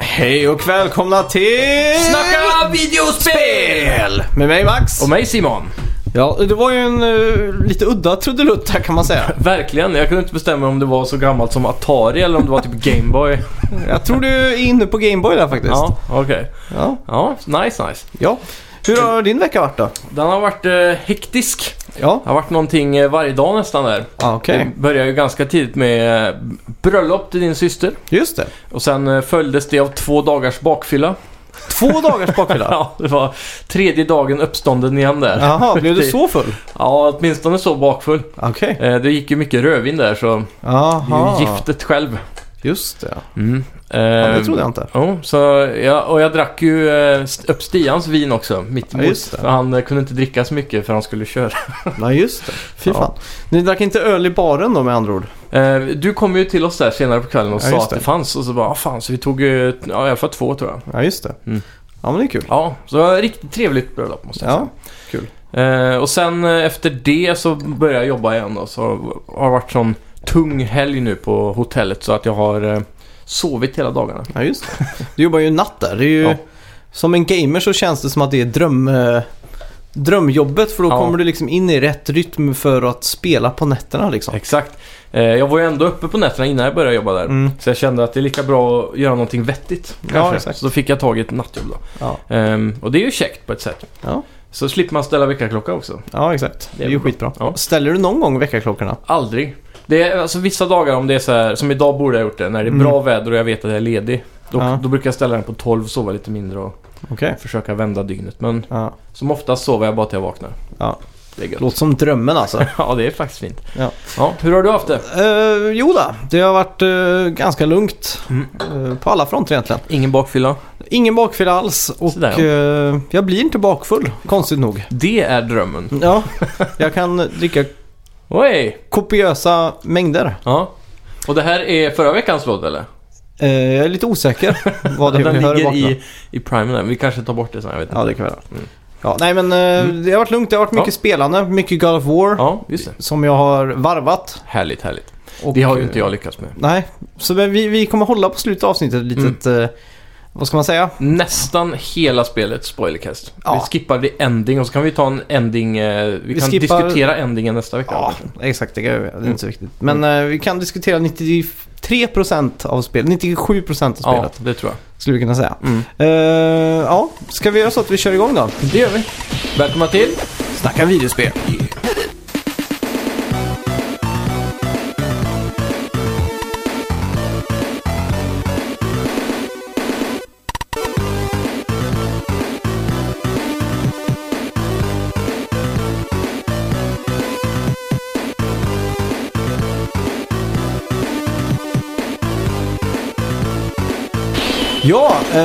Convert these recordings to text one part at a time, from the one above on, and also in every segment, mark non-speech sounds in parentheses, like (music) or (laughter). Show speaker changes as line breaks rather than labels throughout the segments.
Hej och välkomna till...
Snacka videospel!
Med mig Max.
Och mig Simon.
Ja, det var ju en eh, lite udda trudelutt här kan man säga.
Verkligen, jag kunde inte bestämma om det var så gammalt som Atari eller om det var typ Gameboy.
Jag tror du är inne på Gameboy där faktiskt.
Ja, okej.
Ja.
Ja, nice nice.
ja. Hur har din vecka varit då?
Den har varit eh, hektisk.
Ja,
Det har varit någonting eh, varje dag nästan där.
ah, okej.
Det började ju ganska tidigt med eh, bröllop till din syster.
Just det.
Och sen eh, följdes det av två dagars bakfylla.
Två dagars (laughs) bakfylla.
(laughs) Ja, det var tredje dagen uppstånden igen där. Ja,
Jaha, blev du så full?
åtminstone så bakfull.
Okej.
Eh, det gick ju mycket rödvin där så det
Jaha.
är ju giftet själv.
Just det.
Mm. Eh,
Ja, det trodde jag inte.
Jo, så jag, och jag drack ju eh, st- upp Stians vin också, mitt
Ja,
emot.
just det.
för han eh, kunde inte dricka så mycket för han skulle köra. (laughs)
Nej, just det. Fy
Ja.
fan. Ni drack inte öl i baren då med andra ord?
Eh, du kom ju till oss där senare på kvällen och
Ja,
sa
just
att det
det.
fanns och så bara, ah, fan, så vi tog eh, t- ja, i alla fall två tror jag.
Ja, just det.
Mm.
Ja, men det är kul.
Ja, så det var ett riktigt trevligt bröllop måste jag
Ja,
säga.
kul.
Eh, och sen eh, efter det så började jag jobba igen då, så har det varit sån tung helg nu på hotellet så att jag har eh, sovit hela dagarna.
Ja, just det. Du jobbar ju natt där. Det är ju,
Ja.
Som en gamer så känns det som att det är dröm, eh, drömjobbet för då
Ja.
kommer du liksom in i rätt rytm för att spela på nätterna liksom.
Exakt. Eh, jag var ju ändå uppe på nätterna innan jag började jobba där.
Mm.
Så jag kände att det är lika bra att göra någonting vettigt.
Ja,
kanske.
exakt.
Så då fick jag tag i ett nattjobb då.
Ja,
Ehm, och det är ju käckt på ett sätt.
Ja.
Så slipper man ställa väckarklocka också.
ja exakt. Det är ju
väl bra.
skitbra.
Ja.
Ställer du någon gång veckaklockorna?
Aldrig. Det är, alltså vissa dagar om det är så här, som idag borde jag ha gjort det, när det är
Mm.
bra väder och jag vet att jag är ledig. Då,
Ja.
då brukar jag ställa den på 12, sova lite mindre och
Okej.
försöka vända dygnet. Men
Ja.
som oftast sover jag bara till jag vaknar. (laughs)
Ja.
Det är gött.
Låter som drömmen
(laughs)
alltså.
Ja, det är faktiskt fint.
Ja.
hur har du haft det?
uh, jo då, det har varit eh, ganska lugnt
Mm.
eh, på alla fronter egentligen.
Ingen bakfylla? Ingen
Bakfylla alls och
Sådär, ja.
eh, jag blir inte bakfull, konstigt nog.
Det är drömmen. (laughs)
Ja, jag kan dricka
Oj!
kopiösa mängder.
Ja. Och det här är förra veckans låt eller?
Eh, jag är lite
(laughs)
osäker vad det är
den
vi hör i
ligger
bakgrunden.
i, i primen där. Vi kanske tar bort det sen, jag vet
Ja,
inte.
det kan vi göra. Ja, nej men eh, det har varit lugnt. Det har varit mycket
Mm. Ja.
spelande, mycket God of War.
Ja, just det.
Som jag har varvat.
Härligt, härligt.
Och,
Det har ju inte
eh,
jag lyckats med.
Nej, så men vi, vi kommer hålla på slutet av avsnittet ett litet,
Mm.
eh, vad ska man säga?
Nästan hela spelet spoilercast.
Ja.
Vi skippar the ending och så kan vi ta en ending. eh, Vi,
Vi
kan
skippar-
diskutera endingen nästa vecka.
Ja, exakt. Det, kan vi göra. det är
Mm.
inte så viktigt. Men eh, vi kan diskutera 93% av spelet, 97% av
ja
spelet
det tror jag.
skulle vi kunna säga.
Mm.
Eh, ja, ska vi göra så att vi kör igång då?
Det gör vi. Välkomna till
Snacka videospel. Ja, eh,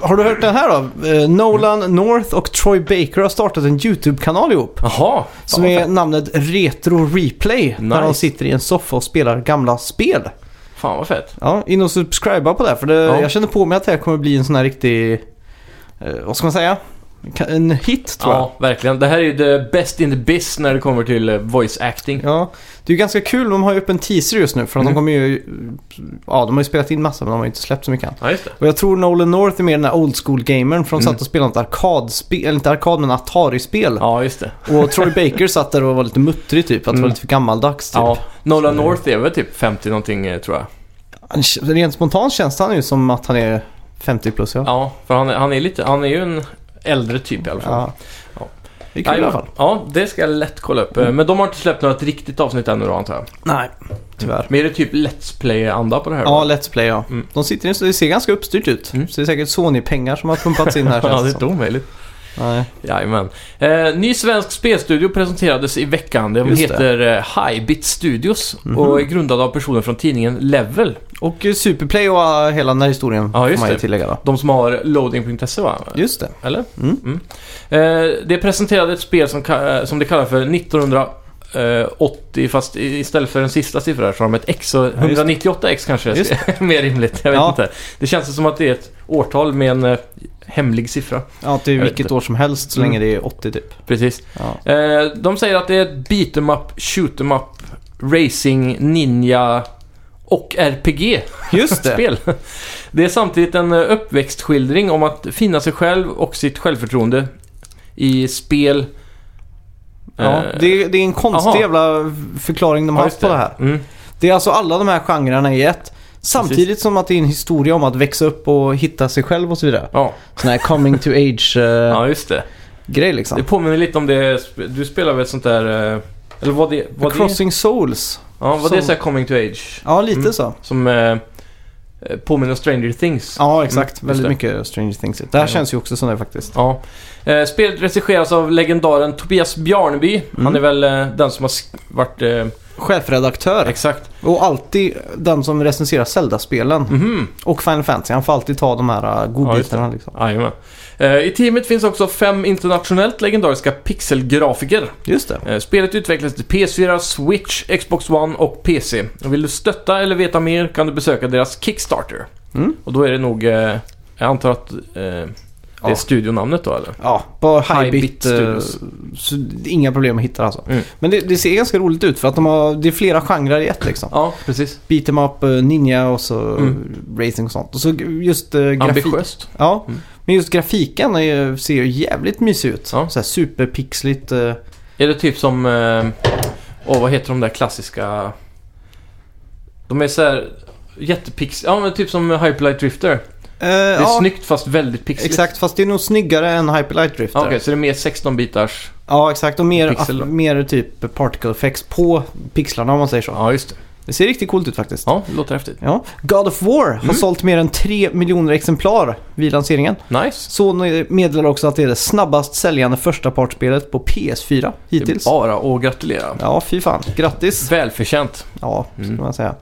har du hört den här då? Eh, Nolan North och Troy Baker har startat en YouTube-kanal ihop.
Jaha.
Som
Ja,
är
fan-
namnet Retro Replay. Där
Nice.
de sitter i en soffa och spelar gamla spel.
Fan vad fett.
Ja, in och subscriba på det. här, För det,
Ja.
jag känner på mig att det här kommer bli en sån här riktig... Eh, vad ska man säga? Ka- En hit tror jag.
Ja, verkligen. Det här är ju the best in the biz när det kommer till eh, voice acting.
Ja, det är ju ganska kul. De har ju upp en teaser just nu. För att de
Mm.
kommer ju... Ja, de har ju spelat in massa men de har ju inte släppt så mycket än.
Ja, just det.
Och jag tror Nolan North är mer den här old school-gamern för de satt och spelade något arkadspel, eller inte arkad men Atari-spel.
Mm. Ja, just det.
Och Troy Baker satt där och var lite muttrig typ, att det var
Mm.
lite för gammaldags typ.
Ja, Nolan North är väl typ 50 någonting eh, tror jag.
Han, rent spontant känns han ju som att han är 50 plus ja.
Ja, för han, är- han är lite, han är ju en äldre typ i alla fall.
Ja.
Ja.
Det är kul i alla fall. Mm.
Ja, det ska jag lätt kolla upp. Eh, Men de har inte släppt något riktigt avsnitt ännu då antar jag.
Nej, tyvärr.
Men är det typ Let's Play-anda på det här?
Ja,
då?
Let's Play ja.
Mm.
De sitter i, det ser ganska uppstyrt ut.
Mm.
Så det är säkert Sony-pengar som har pumpats in här
(laughs) ja
känns
det är
som.
inte omöjligt.
Nej.
Jajamän. Eh, ny svensk spelstudio presenterades i veckan. Den
Just det. Mhm.
heter eh, Hybit Studios och är grundad av personer från tidningen Level.
Och eh, Superplay och eh, hela den här historien
Ja, just
får man ju
det.
tillägga då.
De som har loading.se va?
Just det.
Eller?
Mm.
Eh, det presenterade ett spel som, ka- eh, som det kallar för 1980 fast i- istället för den sista siffran här så har de ett X och
Ja, just det.
198X kanske
Just
är (laughs) mer rimligt. Jag vet
Ja.
inte. Det känns som att det är ett årtal med en eh, hemlig siffra.
Ja, till
Jag vet
vilket
inte.
år som helst så
Mm.
länge det är 80 typ.
Precis.
Ja.
Eh, de säger att det är ett beat 'em up, shoot 'em up, racing, ninja och RPG.
Just (laughs) det.
spel. (laughs) Det är samtidigt en eh, uppväxtskildring om att finna sig själv och sitt självförtroende i spel.
Ja,
Eh,
det, är- det är en konstig
Aha.
jävla förklaring de har
ja,
haft
just
på det här.
Mm.
Det är alltså alla de här genrerna i ett. Samtidigt som att det är en historia om att växa upp och hitta sig själv och så vidare.
Ja,
Sån här coming to age-grej
(laughs) ja, just det.
liksom.
Det påminner lite om det... sp- Du spelar väl ett sånt där... eh, Eller vad det...
The
Vad det
Crossing Souls.
ja, vad det är
som-
så här coming to age.
Ja, lite
Mm.
så.
Som eh, eh, påminner om Stranger Things.
Ja, exakt.
Mm, just
Väldigt
det.
mycket Stranger Things. Det här
Ja.
känns ju också som det faktiskt.
Ja. Eh, spelet regisseras av legendaren Tobias Bjarneby. Han
Mm.
är väl eh, den som har sk- varit... Eh,
Chefredaktör.
exakt.
Och alltid den som recenserar Zelda-spelen.
Mhm.
Och Final Fantasy. Han får alltid ta de här äh, godbitarna liksom.
Jajamän. Eh, I teamet finns också fem internationellt legendariska pixelgrafiker.
Just det.
Eh, spelet utvecklades till PS4, Switch, Xbox One och PC. Och vill du stötta eller veta mer kan du besöka deras Kickstarter.
Mm.
Och då är det nog... Eh, jag antar att eh, det är
Ja.
studionamnet då eller?
Ja, bara
High
Hybit.
Bit Studios.
eh, Inga problem att hitta alltså.
Mm.
Men det, det ser ganska roligt ut för att de har, det är flera genrer i ett liksom.
Ja, precis.
Beat 'em up, eh, ninja och så
Mm.
racing och sånt. Och så just eh, grafik.
Ambitiöst.
Ja,
Mm.
men just grafiken är, ju- ser ju jävligt mysig ut.
Ja.
Så här superpixligt. eh,
Är det typ som... eh, Åh, vad heter de där klassiska... De är så här jättepix... Ja, men typ som Hyperlight Drifter.
eh,
Det är
ja,
snyggt fast väldigt pixligt.
exakt. Fast det är nog snyggare än Hyperlight Drifter.
Ja, Okej, så det är mer 16-bitars...
Ja, exakt. Och mer,
Pixel då.
mer typ particle effects på pixlarna om man säger så.
Ja, just det.
Det ser riktigt coolt ut faktiskt.
Ja, det låter häftigt.
Ja. God of War har
Mm.
sålt mer än 3 miljoner exemplar vid lanseringen.
Nice.
Sony meddelar också att det är det snabbast säljande förstapartsspelet på PS4 hittills.
Det är bara att gratulera.
Ja, fy fan. Grattis.
Välförtjänt.
Ja,
Mm.
skulle man säga.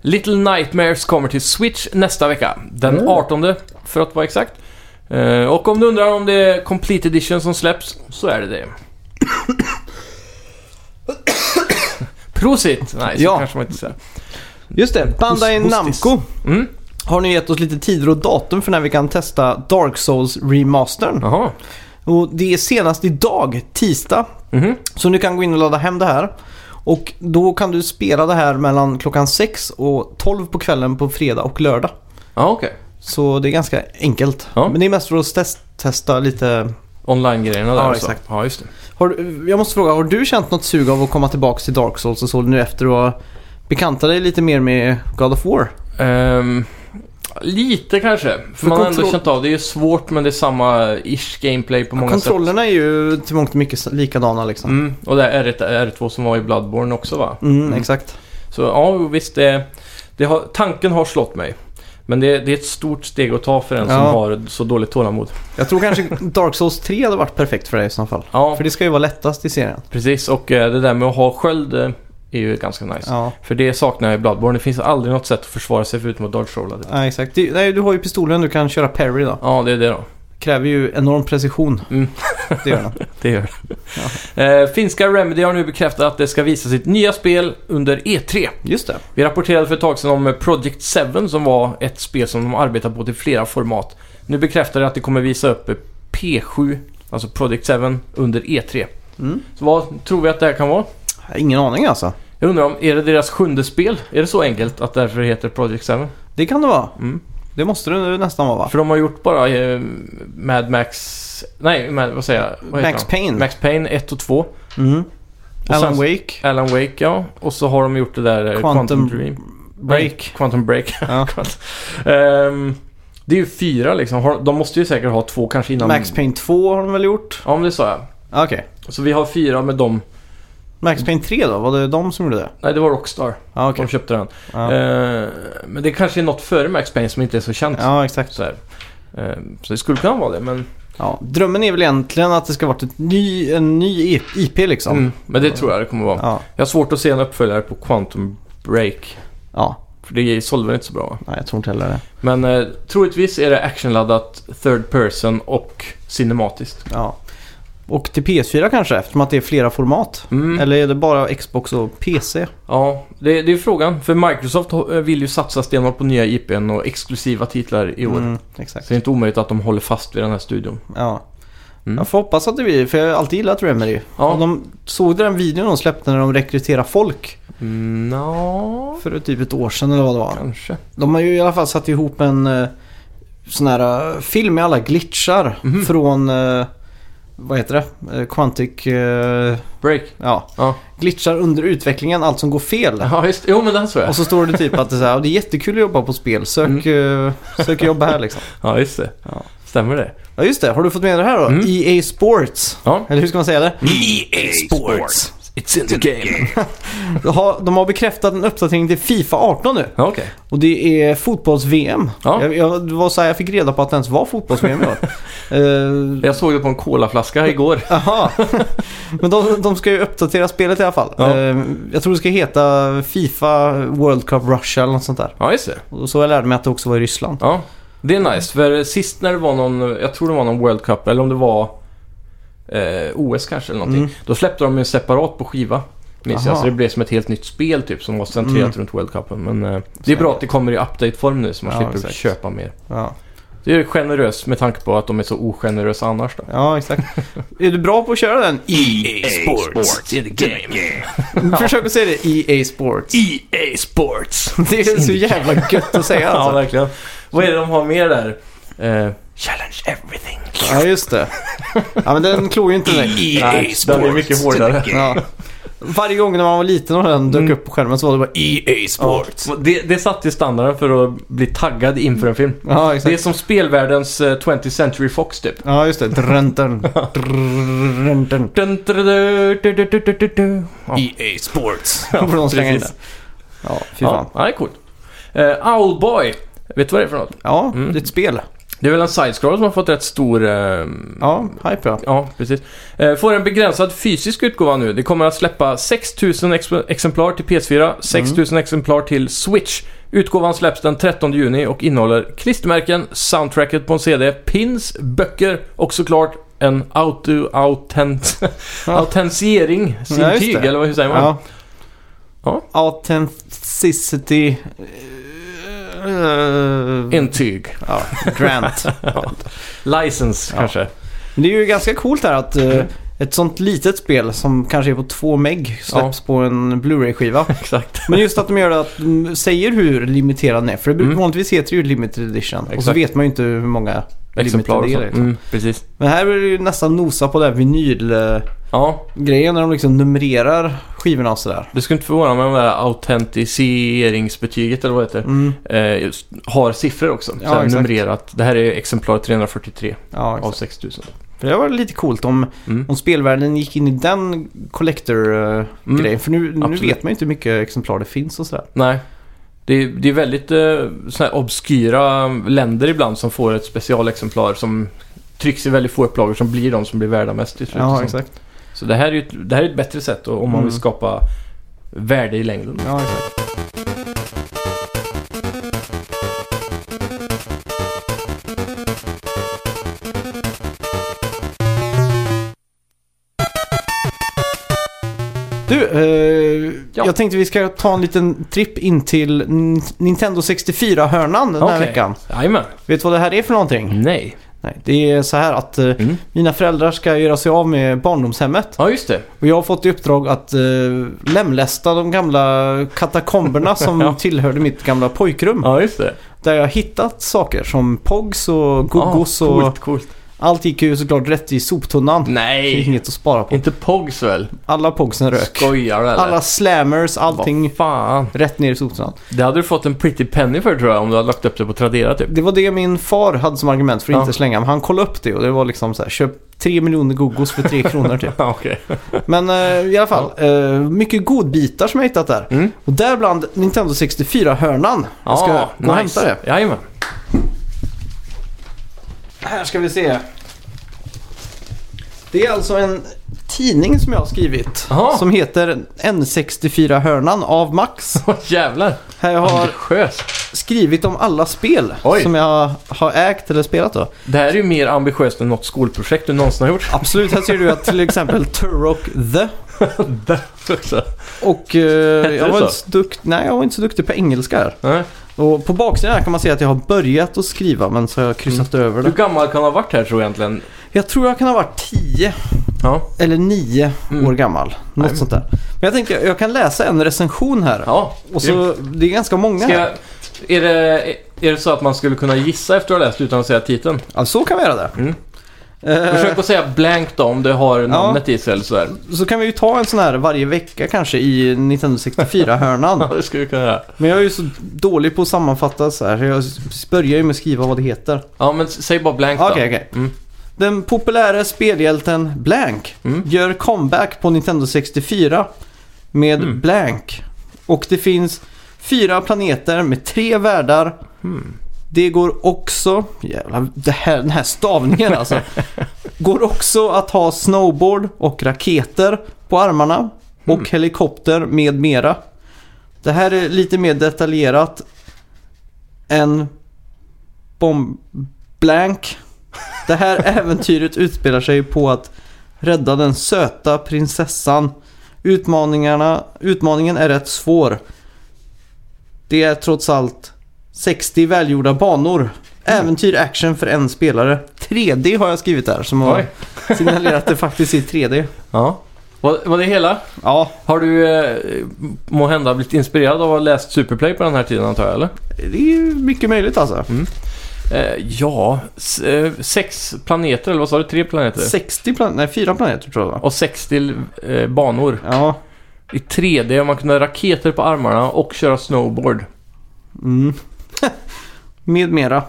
Little Nightmares kommer till Switch nästa vecka. Den
Mm.
18 för att vara exakt. Eh, Och om du undrar om det är Complete Edition som släpps, så är det det. (coughs) Prosit! Nej, så
Ja.
kanske man inte säger.
Just det, Bandai
Hos- hostis.
Namco
Mm,
har nu gett oss lite tider och datum för när vi kan testa Dark Souls remastern.
jaha.
Och det är senast idag, tisdag.
Mhm.
Så nu kan gå in och ladda hem det här. Och då kan du spela det här mellan klockan 6 och 12 på kvällen på fredag och lördag.
Ja, okej.
Så det är ganska enkelt.
Ja.
Men det är mest för att test- testa lite.
Online-grejerna där
Ja,
alltså.
exakt.
Ja, just det.
Har, du- jag måste fråga, har du känt något sug av att komma tillbaka till Dark Souls och så nu efter att ha bekantat dig lite mer med God of War?
Ehm, lite kanske. För,
För
man har ändå
kontroll-
känt av det. är ju svårt men det är samma ish gameplay på många sätt.
Kontrollerna är ju till mångt och mycket likadana liksom.
Mm, och det är R1, R2 som var i Bloodborne också va?
Mm, exakt.
Så ja, visst det, det har, tanken har slått mig. Men det, det är ett stort steg att ta för en som
Ja.
har så dåligt tålamod.
Jag tror kanske (laughs) Dark Souls 3 hade varit perfekt för dig i så fall.
Ja,
För det ska ju vara lättast i serien.
precis. Och eh, det där med att ha sköld eh, är ju ganska nice.
Ja,
För det saknar jag i Bloodborne. Det finns aldrig något sätt att försvara sig förutom att dodge rolla.
ja exakt. Du, nej, du har ju pistolen, du kan köra parry då.
Ja, det är det då.
Kräver ju enorm precision.
Mm.
Det gör den.
Det gör det. Eh, finska Remedy har nu bekräftat att det ska visa sitt nya spel under E E3.
Just det.
Vi rapporterade för ett tag sedan om eh, Project 7 som var ett spel som de arbetar på till flera format. Nu bekräftar det att det kommer visa upp P7, alltså Project 7, under E3.
Mm.
Så vad tror vi att det här kan vara?
Ingen aning alltså.
Jag undrar om, är det deras sjunde spel? Är det så enkelt att därför det heter Project 7?
Det kan det vara.
Mm.
Det måste det nu nästan vara va?
För de har gjort bara eh, Mad Max... Nej, Mad, vad säger jag? Vad heter
Max
de?
Payne.
Max Payne 1 och 2.
Mm.
Och
Alan
sen-
Wake.
Alan Wake, ja. Och så har de gjort det där eh,
Quantum
Quantum Dream.
Break.
Quantum Break. (laughs)
Ja.
Ehm, det är ju fyra liksom. Har- De måste ju säkert ha två kanske innan...
Max Payne 2 har de väl gjort? Ah,
Ja, men det sa jag.
Okej.
Så vi har fyra med dem.
Max Payne 3 då? Var det de som gjorde det?
Nej, det var Rockstar.
Ja, okej.
De köpte den.
Ja.
Ehm, men det kanske är något före Max Payne som inte är så känt.
ja, exakt.
Så, här. Ehm, så det skulle kunna vara det, men
Ja, drömmen är väl egentligen att det ska vara ett ny, en ny IP liksom.
Mm, men det tror jag det kommer vara.
Ja,
Jag har svårt att se en uppföljare på Quantum Break.
ja.
För det sålde väl inte så bra.
Nej, jag tror inte heller det.
Men eh, troligtvis är det actionladdat, third person och cinematiskt.
Ja. Och till PS4 kanske eftersom att det är flera format.
Mm.
Eller är det bara Xbox och PC?
Ja, det, det är frågan. För Microsoft ho- eh, vill ju satsa stenhårt på nya IPn och exklusiva titlar i år.
Mm,
Så
exakt.
det är inte omöjligt att de håller fast vid den här studion.
Ja.
Mm.
Jag får hoppas att det blir, för jag har alltid gillat Remedy.
Ja.
Och de såg den videon de släppte när de rekryterar folk
Mm, Nja,
för typ ett år sedan eller vad det var.
kanske.
De har ju i alla fall satt ihop en eh, sån här eh, film med alla glitchar
Mhm.
från, eh, vad heter det, Eh, Quantic, eh,
Break.
ja,
Ja,
glitchar under utvecklingen, allt som går fel.
ja just Jo, men den såg jag.
Och så står det typ att det är, så här, "Ja, det är jättekul att jobba på spel, sök,
Mm.
eh, sök jobb här liksom.
Ja, just det.
Ja.
Stämmer det?
Ja just det, har du fått med det här då?
Mm.
EA Sports.
Ja.
Eller hur ska man säga det?
EA Sports.
E It's in the game.
De har, de har bekräftat en uppdatering till Fifa 18 nu.
Ja, okej.
Och det är fotbolls-VM.
Ja.
Jag, jag, det var så här, jag fick reda på att det ens var fotbolls-VM
(laughs)
i år. Eh,
Jag såg det på en colaflaska igår.
Jaha. Men de, de ska ju uppdatera spelet i alla fall.
Ja.
Eh, Jag tror det ska heta Fifa World Cup Russia eller något sånt där.
Ja, just det.
Och så jag lärde mig att det också var i Ryssland.
Ja, det är nice. För sist när det var någon, jag tror det var någon World Cup eller om det var eh, OS kanske eller någonting. Då släppte de ju separat på skiva. Minns jag.
Aha.
Så det blev som ett helt nytt spel typ som var centrerat
Mm.
runt World Cupen. Men eh, det är bra att det kommer i update-form nu så man
Ja,
slipper
exakt.
köpa mer.
Ja,
Det är generöst med tanke på att de är så ogenerösa annars då.
ja exakt. är du bra på att köra den?
EA E Sports. It's in the game.
Försök att säga det. EA Sports.
EA Sports.
Det är så jävla gött att
(laughs)
säga
Ja,
alltså.
verkligen. Vad är det de har mer där? Eh,
Challenge everything.
Ja, just det. Ja, men den klår ju inte direkt.
EA
Nej,
Sports.
den är mycket
It's in
hårdare.
the game.
Ja. Varje gång när man var liten och den dök upp på skärmen så var det bara
EA E Sports.
det, det satte ju standarden för att bli taggad inför en film.
Ja,
Det är
exakt.
som spelvärldens eh, 20th Century Fox typ.
Ja, just det. Drön, drön, drön, drön.
Dun, dun, dun, dun, dun, dun, dun, dun. Ja,
EA E Sports.
Då får de slänga in det.
precis.
Ja, fy fan.
Ja, ja, det är coolt. Eh, Owlboy. Vet du vad det är för något?
Ja,
Mm.
det är ett spel.
Det är väl en side-scroller som har fått rätt stor... eh,
Ja, hype ja.
Ja, precis. Eh, Får en begränsad fysisk utgåva nu. Det kommer att släppa 6000 ex exemplar till PS4,
Mm.
6000 exemplar till Switch. Utgåvan släpps den 13 juni och innehåller klistermärken, soundtracket på en CD, pins, böcker och såklart en auto autent
Ja.
(laughs) autentisering,
Ja, just
intyg
det.
eller hur säger man?
ja.
Ja.
Authenticity... eh,
Intyg.
ja, grant.
License
Ja.
kanske.
Men det är ju ganska coolt här att eh, ett sånt litet spel som kanske är på 2 meg släpps på en Blu-ray-skiva. (laughs)
Exakt.
Men just att de gör det att de säger hur limiterad den är. För det brukar
Mm.
vanligtvis heter det ju limited edition. Och så
Exakt.
vet man ju inte hur många
Exemplar och
limited det är. Liksom.
sånt. Mm, precis.
Men här är det ju nästan nosa på det här vinylgrejen
Ja,
när de liksom numrerar skivorna och sådär.
det skulle inte förvåna mig om det här autentiseringsbetyget eller vad det heter.
Mm.
eh, just, har siffror också.
Ja,
så här
exakt.
numrerat. Det här är exemplar 343
Ja,
av
exakt.
6000.
För det var lite coolt om,
Mm.
om spelvärlden gick in i den collector-grejen.
Mm.
För nu, nu
Absolut.
vet man ju inte hur mycket exemplar det finns och sådär.
Nej. Det är, det är väldigt eh, så här obskyra länder ibland som får ett specialexemplar som trycks i väldigt få upplagor som blir de som blir värda mest till slut.
Ja,
Så-
exakt.
Så det här är ju ett, det här är ett bättre sätt om man
Mm.
vill skapa värde i längden.
Ja, exakt. Du, eh,
Ja.
jag tänkte vi ska ta en liten tripp in till N- Nintendo 64-hörnan den här
Okej.
veckan.
Jajamän.
Vet du vad det här är för någonting?
Nej.
Nej, det är så här att eh,
Mm.
mina föräldrar ska göra sig av med barndomshemmet.
Ja, just det.
Och jag har fått i uppdrag att eh, lemlästa de gamla katakomberna
(laughs)
som
Ja.
tillhörde mitt gamla pojkrum.
(laughs) Ja, just det.
Där jag har hittat saker som Pogs och Gogos
ah,
och
Coolt, coolt.
allt gick ju såklart rätt i soptunnan. Det är
Nej.
inget att spara på.
(laughs) Inte Pogs väl?
Alla Pogsen rök.
Skojar du eller?
Alla slammers, allting
Vad fan.
rätt ner i soptunnan.
Det hade du fått en pretty penny för tror jag om du hade lagt upp det på Tradera typ.
Det var det min far hade som argument för att
Ja.
inte slänga. Men han kollade upp det och det var liksom så här, köp 3 miljoner Gogos för
(laughs)
3 kronor typ.
(laughs) Ja, okej.
Men eh, i alla fall, eh, mycket godbitar som jag hittat där.
Mm. Ah,
Och däribland Nintendo 64-hörnan. Jag ska
Ja,
gå och hämta det.
Jajamän.
Här ska vi se. Det är alltså en tidning som jag har skrivit.
Jaha.
Som heter N64-hörnan av
(laughs)
Max.
(laughs) Åh jävlar!
Här jag har
Ambitiös!
skrivit om alla spel
Oj.
som jag har ägt eller spelat då.
Det här är ju mer ambitiöst än något skolprojekt du någonsin har gjort. (laughs)
Absolut, här ser du att till exempel Turok The.
Också.
Och eh,
det
jag, var
så?
inte så dukt, nej, jag var inte så duktig på engelska här.
Nej.
Och på baksidan här kan man se att jag har börjat att skriva men så har jag kryssat över
Hur
det.
gammal kan han ha varit här tror jag egentligen?
Jag tror jag kan ha varit 10
Ja.
eller 9
Mm.
år gammal. Något
men-
sånt där. Men jag tänkte jag kan läsa en recension här.
ja.
Och så, det är ganska många
Ska
här.
jag, är, det, är det så att man skulle kunna gissa efter att ha läst utan att säga titeln?
Ja, så kan vi göra det.
Mm.
Eh,
Försök att säga blankt då, om det har namnet i sig eller sådär.
Så kan vi ju ta en sån här varje vecka kanske i 1964-hörnan.
Ja, (laughs) det skulle vi kunna göra.
Men jag är ju så dålig på att sammanfatta så här. så Jag börjar ju med att skriva vad det heter.
Ja, men s- säg bara blankt då.
Okej, okej.
Mm.
Den populära spelhjälten Blank
Mm.
gör comeback på Nintendo 64 med
Mm.
Blank. Och det finns fyra planeter med tre världar.
Hmm.
Det går också, jävlar, det här, den här
(laughs)
stavningen alltså. går också att ha snowboard och raketer på armarna. Och
Mm.
helikopter med mera. Det här är lite mer detaljerat än bomb... Blank. Det här (laughs) äventyret utspelar sig på att rädda den söta prinsessan. Utmaningarna, utmaningen är rätt svår. Det är trots allt 60 välgjorda banor. Äventyr action för en spelare. 3D har jag skrivit där som har (laughs)
Oj.
signalerat att det faktiskt är 3D.
Ja. Vad, vad det hela?
Ja,
Har du eh, må hända blivit inspirerad av att ha läst Superplay på den här tiden antar jag, eller?
det är ju mycket möjligt alltså.
Eh, ja, s- eh, sex planeter, eller vad sa du? Tre planeter?
60 planeter, nej 4 planeter tror jag det var.
Och sex till eh, banor.
Ja,
I 3D, man kunde ha raketer på armarna och köra snowboard.
mm. (laughs) Med mera.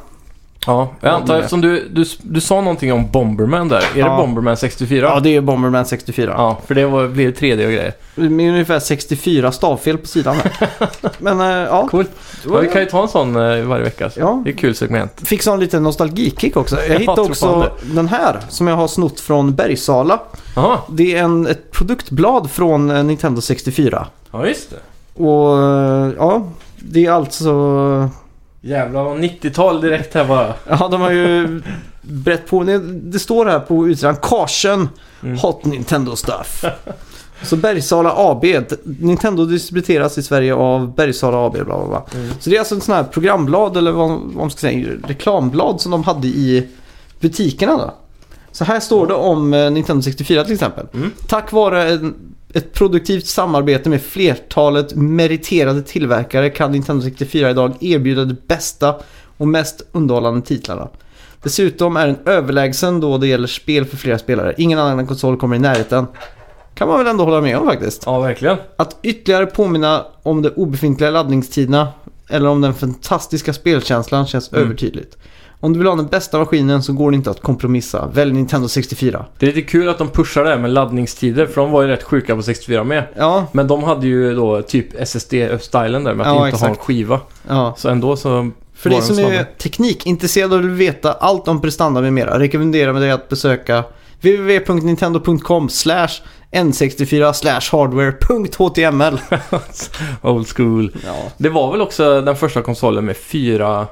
Ja, jag
Ja,
antar
men-
eftersom du, du, du sa någonting om Bomberman där. Är det
Ja.
Bomberman 64?
Ja, det är Bomberman 64.
Ja, för det var, blir 3D och grejer.
Det är ungefär 64 stavfel på sidan
(laughs)
här. Men eh, ja.
Coolt.
Det
Ja,
var-
vi kan ju ta en sån eh, varje vecka. Så.
Ja.
Det är ett kul segment.
Fick sån liten nostalgikick också. Jag hittade
tror fan
också den här som jag har snott från Bergsala.
Jaha,
Det är en, ett produktblad från eh, Nintendo 64.
ja just det.
Och eh, ja, det är alltså...
Jävlar vad 90-tal direkt här bara.
Ja, de har ju brett på. Det- Det står här på utsidan. Karsen
Mm.
Hot Nintendo Stuff. Så Bergsala AB. D- Nintendo distribueras i Sverige av Bergsala AB. Bla bla bla.
Mm.
Så det är alltså en sån här programblad eller vad, vad man ska säga, reklamblad som de hade i butikerna då. Så här står det om eh, Nintendo 64 till exempel.
Mm.
Tack vare en, ett produktivt samarbete med flertalet meriterade tillverkare kan Nintendo 64 idag erbjuda de bästa och mest underhållande titlarna. Dessutom är den överlägsen då det gäller spel för flera spelare. Ingen annan konsol kommer i närheten. Kan man väl ändå hålla med om faktiskt.
Ja, verkligen.
Att ytterligare påminna om de obefintliga laddningstiderna eller om den fantastiska spelkänslan känns
Mm.
övertydligt. Om du vill ha den bästa maskinen så går det inte att kompromissa. Välj Nintendo 64.
Det är lite kul att de pushar det här med laddningstider, för de var ju rätt sjuka på 64 med.
Ja,
Men de hade ju då typ SSD-stilen där med att
Ja,
inte ha en
exakt.
skiva.
ja.
Så ändå så...
För
var
dig
de
som
snabba.
är teknikintresserad och vill veta allt om prestanda med mera rekommenderar vi dig att besöka www.nintendo.com n64 hardware.html.
(laughs) Old school.
Ja.
Det var väl också den första konsolen med fyra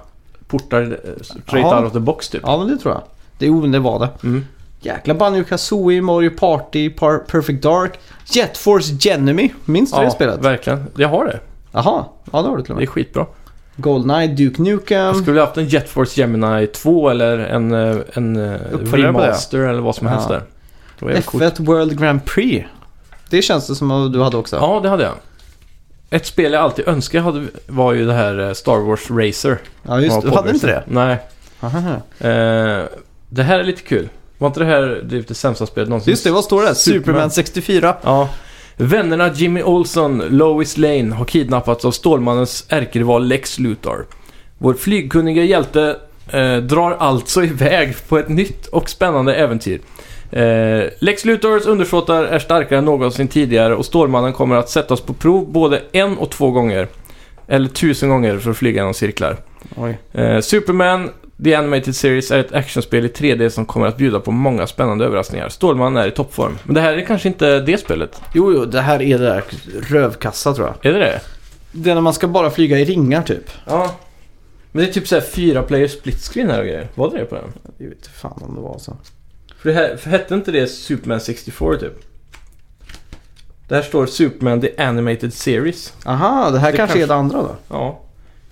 portar eh, straight
Ja.
out of the box typ.
ja, men det tror jag. Det, jo, det var det.
Mm.
Jäkla Banjo Kazooie, Mario Party, Par Perfect Dark, Jet Force Genemy. Minns du
Ja,
det spelet?
verkligen. Jag har det.
Jaha, ja det har du till och
Det är
med.
skitbra.
Goldeneye, Duke
Jag
Nukem.
skulle haft en Jet Force Gemini 2 eller en, eh, en eh,
Uppföljare på det.
remaster eller vad som
Ja.
helst där. Det var jävligt coolt.
F1 World Grand Prix. Det känns det som att du hade också.
Ja, det hade jag. Ett spel jag alltid önskade hade, var ju det här eh, Star Wars Racer.
Ja, just
Ja,
det. Du hade
podracer.
inte det?
Nej.
Aha.
Eh, det här är lite kul. Var inte det här det, det sämsta spelet någonsin?
Just det, vad står det?
Superman.
Superman 64.
Ja. Vännerna Jimmy Olsen, Lois Lane har kidnappats av Stålmannens ärkerival Lex Luthor. Vår flygkunniga hjälte eh, drar alltså iväg på ett nytt och spännande äventyr. Eh, Lex Luthors undersåtar är starkare än någonsin tidigare och Stålmannen kommer att sättas på prov både en och två gånger. Eller tusen gånger för att flyga genom cirklar.
Oj.
Eh, Superman The Animated Series är ett actionspel i 3D som kommer att bjuda på många spännande överraskningar. Stålmannen är i toppform. Men det här är kanske inte det spelet?
Jo, jo, det här är det där rövkassa tror jag.
Är det det?
Det är när man ska bara flyga i ringar typ.
Ja. Men det är typ såhär fyra player split screen här och grejer. Var det det på den?
Jag vet inte fan om det var så.
För, det här, för hette inte det Superman 64 typ? Där står Superman The Animated Series.
Aha, det här kanske,
Det kanske-
är det andra då.
Ja.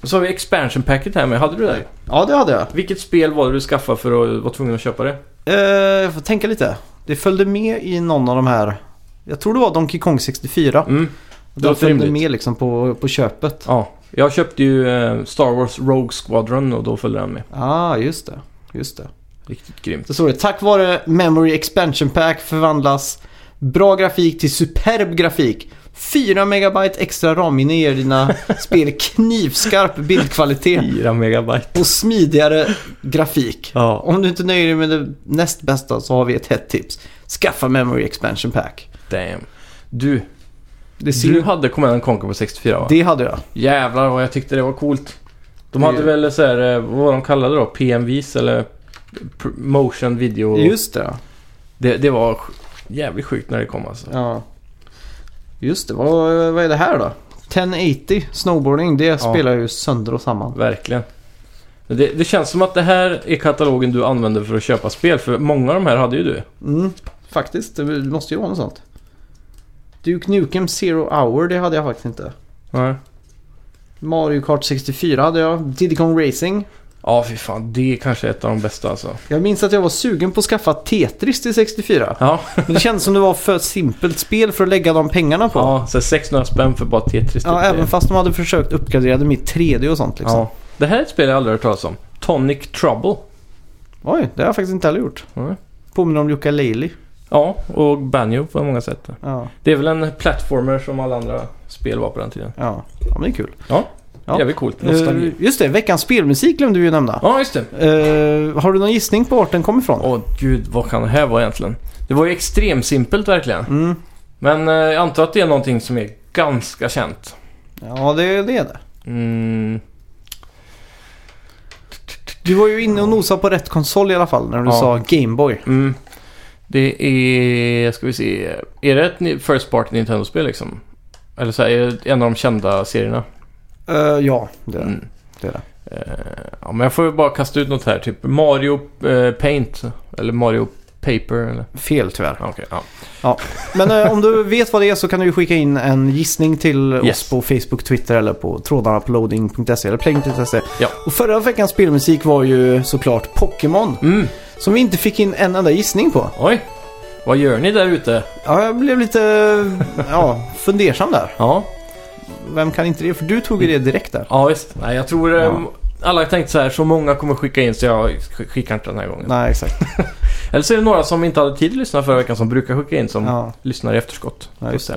Och så har vi expansion packet här med. Hade du det?
Ja, det hade jag.
Vilket spel var det du skaffade för att vara tvungen att köpa det?
Eh, jag får tänka lite. Det följde med i någon av de här. Jag tror det var Donkey Kong 64.
Mm.
Det
låter
följde
rimligt.
med liksom på, på köpet.
Ja. Jag köpte ju eh, Star Wars Rogue Squadron och då följde den med.
ah, just det. Just det.
Riktigt grymt.
Så står det tack vare Memory Expansion Pack förvandlas bra grafik till superb grafik. 4 megabyte extra ramminne ger
(laughs)
dina spel knivskarp bildkvalitet
4 megabyte.
och smidigare grafik.
Ja.
Om du inte nöjer dig med det näst bästa så har vi ett hett tips. Skaffa Memory Expansion Pack.
Damn. Du,
Det, ser
du
ju-
hade Command Conquer på 64 va?
det hade jag.
Jävlar vad jag tyckte det var coolt. De
Det-
hade väl så här, eh, vad var de kallade det då? PMVs eller pr- motion video.
Just det.
Det, det var sj- jävligt sjukt när det kom alltså.
Ja. Just det. Vad, vad är det här då? 1080 snowboarding. Det spelar jag ju sönder och samman.
Verkligen. Men Det, det känns som att det här är katalogen du använder för att köpa spel. För många av de här hade ju du.
Mm, faktiskt. Det måste ju vara något sånt. Duke Nukem Zero Hour, det hade jag faktiskt inte.
Nej.
Mario Kart 64 hade jag. Diddy Kong Racing.
Ja, fy fan. Det är kanske ett av de bästa alltså.
Jag minns att jag var sugen på att skaffa Tetris till 64.
(laughs) Ja,
Men det kändes som det var för simpelt spel för att lägga de pengarna på. Ja,
ja så 600 spänn för bara Tetris. typ.
även fast de hade försökt uppgradera det mitt 3D och sånt liksom.
ja. Det här är ett spel jag aldrig hört talas om. Tonic Trouble.
Oj, det har jag faktiskt inte heller gjort.
Nej.
Påminner om Jukka Leili.
Ja, och Banjo på många sätt.
Ja,
Det är väl en platformer som alla andra spel var på den tiden.
ja. ja, men det är kul. Ja.
Jävligt coolt.
Eh, just det, veckans spelmusik glömde vi ju nämna.
Ja, just det.
Eh, har du någon gissning på vart den kommer ifrån?
Åh gud, vad kan det här vara egentligen? Det var ju extremsimpelt verkligen.
Mm.
Men eh, jag antar att det är någonting som är ganska känt.
Ja, det, det är det.
Mm.
Du var ju inne och nosade på rätt konsol i alla fall när du
Ja.
sa Gameboy.
Mm. Det är, ska vi se, är det ett ni- First Party Nintendo-spel liksom? Eller så här, är det en av de kända serierna?
Uh, ja, det är det.
Mm.
det, är det.
Eh, ja, men jag får ju bara kasta ut något här, typ Mario eh, Paint eller Mario Paper eller?
Fel tyvärr.
Ja, Okej, ja.
Men eh, om
(laughs)
du vet vad det är så kan du ju skicka in en gissning till
Yes.
oss på Facebook, Twitter eller på trådaruploading.se eller playing.se.
Ja.
Och förra veckans spelmusik var ju såklart Pokémon.
Mm.
Som vi inte fick in en enda gissning på.
Oj! Vad gör ni där ute?
Ja, jag blev lite ja, fundersam där.
Ja,
Vem kan inte det? För du tog ju det direkt där.
ja visst. Nej, jag tror eh,
Ja.
alla har tänkt så här, så många kommer skicka in så jag sk- skickar inte den här gången.
Nej, exakt.
Eller så är det några som inte hade tid att lyssna förra veckan som brukar skicka in som
Ja.
lyssnar i efterskott.
Ja, just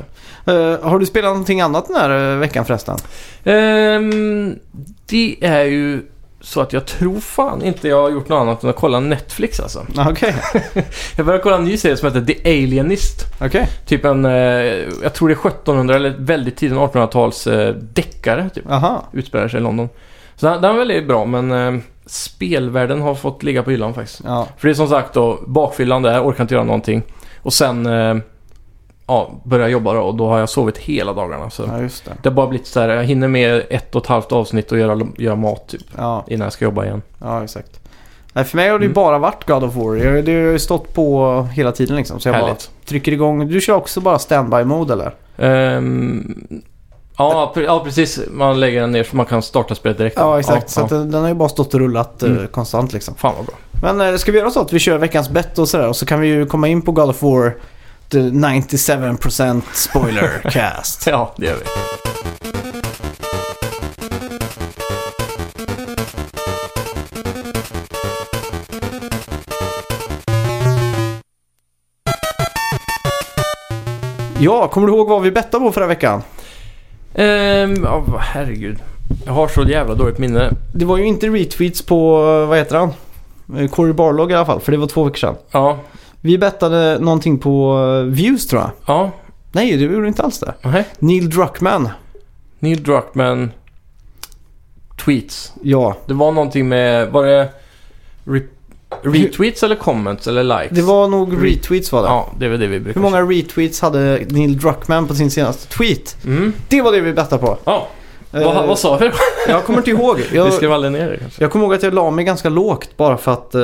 det. Eh, har du spelat någonting annat den här eh, veckan förresten? (laughs)
Ehm, det är ju så att jag tror fan inte jag har gjort något annat än att kolla Netflix alltså.
Ah, Okej,
Jag började kolla en ny serie som heter The Alienist.
okej.
Typ en, eh, jag tror det är 1700 eller väldigt tidigt 1800-tals eh, deckare. Typ.
Aha.
Utspelar sig i London. Så den, den är väldigt bra men eh, spelvärlden har fått ligga på hyllan faktiskt.
Ja,
För det är som sagt då bakfyllan där, orkar inte göra någonting. Och sen eh, ja, börjar jobba då, och då har jag sovit hela dagarna. Så.
ja just det.
Det har bara blivit så här, jag hinner med ett och ett halvt avsnitt och göra, göra mat typ.
Ja,
Innan jag ska jobba igen.
ja exakt. Nej, för mig har det ju
Mm.
bara varit God of War. Jag- Det har ju stått på hela tiden liksom. Så jag
Härligt.
bara trycker igång. Du kör också bara standby mode eller?
Ehm, ja, pre- ja, precis. Man lägger den ner så man kan starta spelet direkt.
Ja, exakt. så
ja.
Att den, den har ju bara stått och rullat eh,
Mm.
konstant liksom.
Fan vad bra.
Men eh, ska vi göra så att vi kör veckans bett och sådär? Och så kan vi ju komma in på God of War. The 97% spoiler (laughs) cast.
Ja, det gör vi.
Ja, kommer du ihåg vad vi bettade på förra veckan?
Ehm, ja, vad- herregud. Jag har så jävla dåligt minne.
Det var ju inte retweets på, eh, vad heter han? Eh, Cory Barlog i alla fall, för det var två veckor sedan.
Ja,
Vi bettade någonting på eh, views tror jag.
ja,
Nej, det gjorde inte alls det.
nej.
Neil Druckmann.
Neil Druckmann tweets.
Ja,
Det var någonting med, var det re- retweets eller comments eller likes?
Det var nog retweets var det.
Ja, det är väl det vi brukar
Hur många retweets hade Neil Druckmann på sin senaste tweet?
Mm.
Det var det vi bettade på.
Ja, vad,
Eh,
vad sa vi?
Jag kommer inte ihåg.
(laughs) Vi
Jag,
skrev aldrig ner det kanske.
jag kommer ihåg att jag la mig ganska lågt bara för att eh,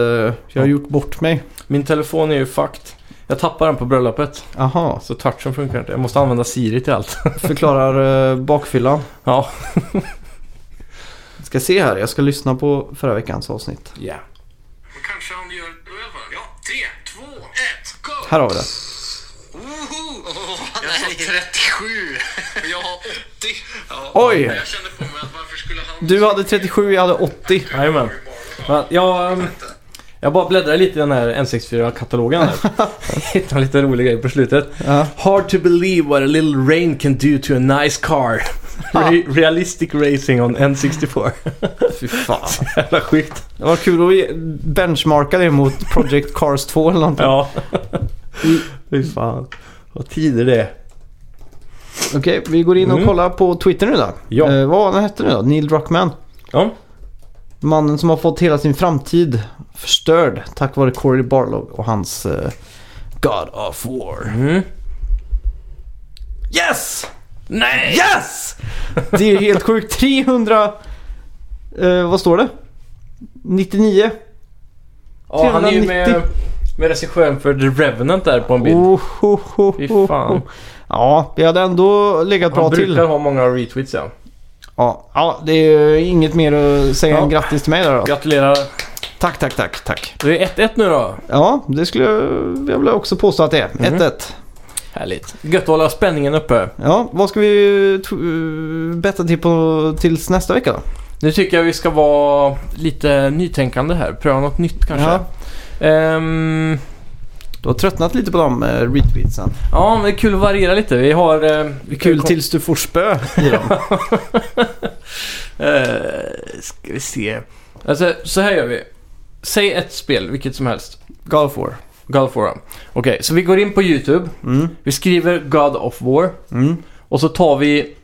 jag har gjort bort mig.
Min telefon är ju fucked. Jag tappade den på bröllopet,
Aha,
så touchen funkar inte. Jag måste använda Siri till allt. (laughs)
förklarar eh, bakfyllan.
Ja.
Ska se här, jag ska lyssna på förra veckans avsnitt.
Yeah.
Men kanske han gör över? Ja, tre, två, ett, go!
Här har vi det.
Woho! jag sa 37! Och jag har 80.
Oj!
Jag kände på mig att varför skulle han...
Du hade 37, jag hade 80.
Jajamän. Ja, Jag, ehm, jag bara bläddrar lite i den här N64-katalogen (laughs) här. Hittade en lite rolig grej på slutet.
Ja.
Hard to believe what a little rain can do to a nice car. Re- realistic racing on (laughs) N64.
Fy fan.
Jävla sjukt.
Det var kul att ge- benchmarka det mot Project Cars 2 eller någonting.
Ja. (laughs) Fy fan. Vad tider det är.
Okej, vi går in och
Mm.
kollar på Twitter nu då.
Ja.
Eh, vad han hette nu då? Neil Druckmann.
Ja.
Mannen som har fått hela sin framtid förstörd tack vare Corey Barlow och hans eh, God of War.
Mm.
Yes!
Nej!
Yes! Det är helt sjukt. 300... Eh, vad står det? 99?
Ja, han är ju med,
390.
med regissören för The Revenant där på en bild.
Oh, ho, ho,
Fy
ho,
fan.
ho. Ja, vi hade ändå legat bra
han brukar
till.
ha många retweets ja.
Ja, ja, det är ju inget mer att säga
Ja.
än grattis till mig där då.
Gratulerar.
Tack, tack, tack, tack.
Det är 1-1 nu då.
Ja, det skulle jag, jag vill också påstå att det är. 1-1.
Mm. Härligt. Gött att hålla spänningen uppe.
Ja, vad ska vi t- betta till på tills nästa vecka då?
Nu tycker jag vi ska vara lite nytänkande här. Pröva något nytt kanske. Ehm,
Ja. Du
Ja,
har tröttnat lite på de eh, retweetsen.
ja men det är kul att variera lite. Vi har... ehm, vi kan ju
Kul
kom-
tills du får spö i
(laughs)
dem.
Eh, ska vi se. Alltså, så här gör vi. Säg ett spel, vilket som helst.
God of War.
God of War. Okej, så vi går in på YouTube.
Mm.
Vi skriver God of War.
Mm.
Och så tar vi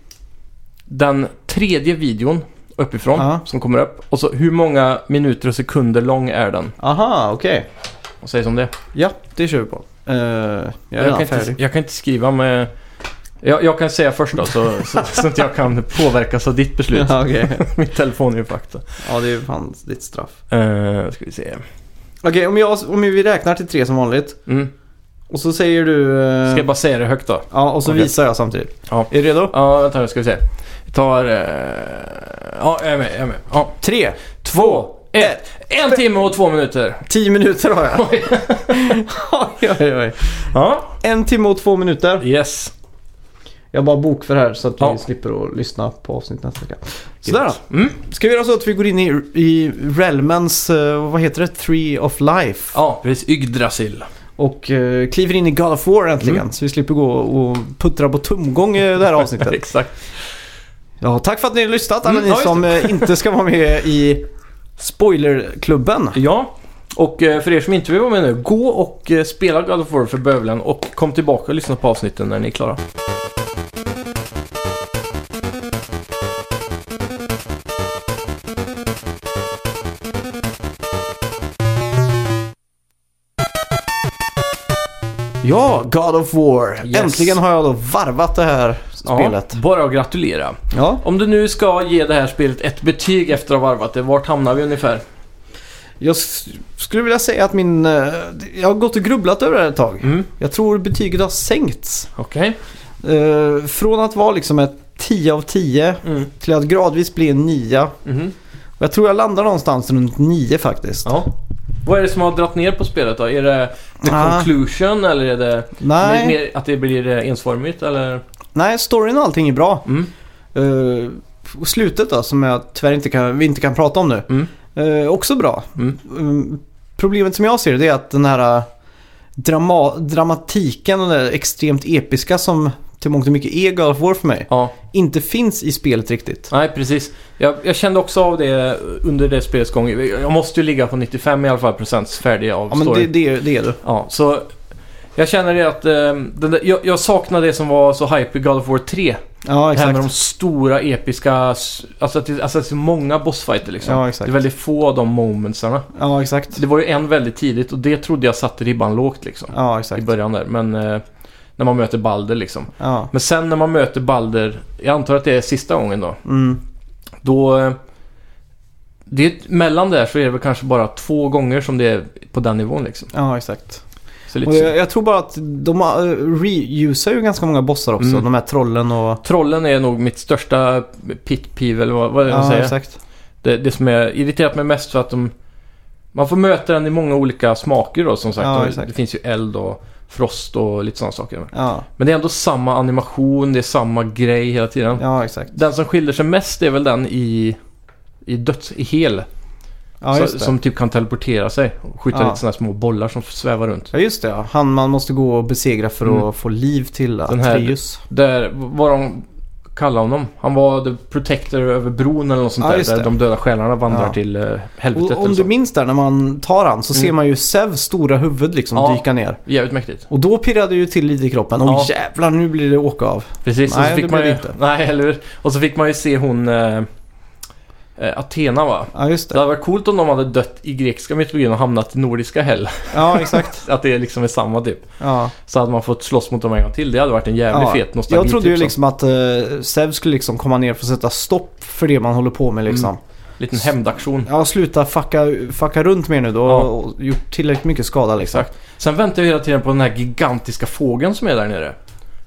den tredje videon uppifrån
Ja.
som kommer upp. Och så hur många minuter och sekunder lång är den?
Aha, okej.
Vad sägs om det?
Ja, det kör vi på. Eh, jag är
jag,
redan
kan (laughs) inte,
färdig.
jag kan inte skriva med... Jag, jag kan säga först då så,
(laughs)
så, så att jag kan påverkas av ditt beslut.
Ja, okej.
(laughs) Min telefon är ju fakta.
ja, det är fan ditt straff.
Uh, ska vi se.
Okej, om, jag- om vi räknar till tre som vanligt.
Mm.
Och så säger du... eh,
Ska jag bara säga det högt då?
Ja, och så
Okej.
visar jag samtidigt.
Ja.
Är du redo?
Ja, vänta nu ska vi se. Jag tar... eh, Ja, jag är med. Jag är med. Ja.
Tre,
Två, ett. En timme och två minuter. (laughs)
tio minuter har jag.
Oj.
oj, oj, oj.
Ja.
En timme och två minuter.
Yes.
Jag bara bokför här så att
Ja.
vi slipper att lyssna på avsnitt nästa vecka. Sådär då.
Mm.
Ska vi göra så att vi går in i, i Realmens, eh, vad heter det, Tree of Life?
Ja,
(laughs)
precis. Yggdrasil.
Och eh, kliver in i God of War äntligen.
Mm.
Så vi slipper gå och puttra på tumgång i
(laughs)
det här avsnittet.
Exakt.
ja, tack för att ni har lyssnat alla
Mm,
ni
ja, just
som eh, inte ska vara med i Spoilerklubben.
Ja. Och eh, för er som inte vill vara med nu, gå och eh, spela God of War för bövelen och kom tillbaka och lyssna på avsnitten när ni är klara.
Ja, God of War.
Yes.
Äntligen har jag då varvat det här spelet.
Ja, bara att gratulera.
Ja,
Om du nu ska ge det här spelet ett betyg efter att ha varvat det, vart hamnar vi ungefär?
jag s- skulle vilja säga att min... eh, Jag har gått och grubblat över det här ett tag.
Mm.
Jag tror betyget har sänkts.
Okej.
Eh, från att vara liksom ett 10 av 10
Mm.
till att gradvis bli en 9. Och
Mhm.
jag tror jag landar någonstans runt 9 faktiskt.
Ja. Vad är det som har dragit ner på spelet då? Är det the
Ah.
conclusion eller är det
Nej,
mer, mer att det blir eh, ensformigt eller?
nej, storyn och allting är bra.
Mm.
Eh, och slutet då, som jag tyvärr inte kan, vi inte kan prata om nu.
Mm.
Eh, också bra.
Mm.
Mm, Problemet som jag ser det är att den här eh, drama, dramatiken, den där extremt episka som till mångt och mycket är God of War för mig,
Ja.
inte finns i spelet riktigt.
Nej, precis. Jag, jag kände också av det under det spelets gång. Jag måste ju ligga på 95 i alla fall procents färdig av
Ja, men
story.
det, det, är- det är du.
Ja, så jag känner det att eh, den där, jag, jag saknar det som var så hype i God of War 3.
Ja,
Det här med
exakt.
de stora episka, s- alltså att det, alltså att det är så många bossfighter liksom.
Ja,
det
exakt.
är väldigt få av de momentsarna.
Ja, exakt.
Det var ju en väldigt tidigt och det trodde jag satte ribban lågt liksom.
Ja,
I
exakt.
början där, men eh, när man möter Balder liksom.
Ja.
Men sen när man möter Balder, jag antar att det är sista gången då.
Mm.
Då... eh, Det, mellan där så är det väl kanske bara två gånger som det är på den nivån liksom.
Ja, exakt.
Så lite
Och
synd.
jag, jag tror bara att de eh, reusar ju ganska många bossar också.
Mm.
De här trollen och...
Trollen är nog mitt största pit peeve eller vad, vad är det man
Ja,
säger?
exakt.
Det, det som är irriterat mig mest för att de... Man får möta den i många olika smaker då som sagt.
Ja,
Och
exakt.
det finns ju eld och frost och lite sådana saker.
Ja,
Men det är ändå samma animation, det är samma grej hela tiden.
ja exakt.
Den som skiljer sig mest är väl den i... I döds... I hel.
Ja,
Så-
just det.
som typ kan teleportera sig och skjuta
Ja.
lite sådana små bollar som svävar runt.
Ja, just det. Ja. Han man måste gå och besegra för att
Mm.
få liv till
Den här-
Atreus.
Där, vad de kallar honom. Han var the protector över bron eller något sånt
Ja,
där.
just
Där
det.
de döda själarna vandrar
Ja.
till eh, helvetet.
Och
eller
om
så.
du minns där när man tar han så
Mm.
ser man ju Zeus stora huvud liksom
Ja.
dyka ner.
Jävligt mäktigt.
Och då pirrade ju till lite i kroppen. Åh
Ja.
jävlar, nu blir det åka av.
Precis, och
Nej,
så
det
fick man
blev
ju...
det inte.
(laughs) Nej, eller hur? Och så fick man ju se hon... Eh, eh, Athena va?
Ja, just
Det
det.
hade varit coolt om de hade dött i grekiska mytologin och hamnat i nordiska hell. (laughs)
Ja, exakt.
Att det liksom är samma typ.
Ja.
Så hade man fått slåss mot dem en gång till. Det hade varit en jävligt
Ja,
fet nostalgi.
Jag trodde ju
typ, som
liksom att uh, Zeus skulle liksom komma ner för att sätta stopp för det man håller på med liksom.
Mm. Liten hämndaktion.
Ja, sluta fucka, fucka runt mer nu då.
Ja.
Och gjort tillräckligt mycket skada liksom.
Exakt. Sen väntar jag hela tiden på den här gigantiska fågeln som är där nere.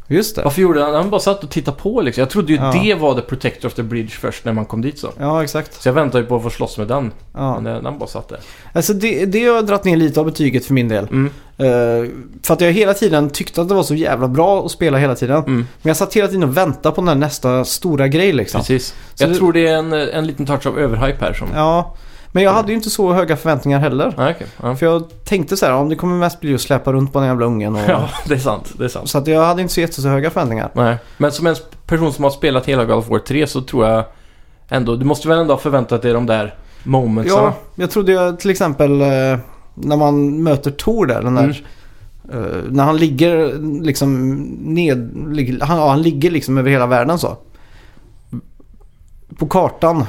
Just det.
Varför gjorde han? Han bara satt och tittade på liksom. Jag trodde ju
Ja.
det var the protector of the bridge först när man kom dit så.
Ja, exakt.
Så jag väntade ju på att få slåss med den.
Ja.
Men eh, den bara satt där.
Alltså det, det har dragit ner lite av betyget för min del.
Mm.
Eh, för att jag hela tiden tyckte att det var så jävla bra att spela hela tiden.
Mm.
Men jag satt hela tiden och väntade på den här nästa stora grej liksom.
Precis.
Så
jag
det-
tror det är en, en liten touch av överhype här som...
Ja, men jag hade ju inte så höga förväntningar heller.
Ah, okej. ja.
För jag tänkte så här, om det kommer mest bli att släpa runt på den jävla ungen. Och...
(laughs) ja, det är sant. Det är sant.
Så att jag hade inte så jättehöga förväntningar.
Nej. Men som en person som har spelat hela God of War 3 så tror jag ändå... Du måste väl ändå ha förväntat dig de där momentsarna?
Ja, jag trodde jag till exempel eh, när man möter Tor där, den där,
Mm.
eh, när han ligger liksom ned, ligger- han, ja, han ligger liksom över hela världen så. På kartan.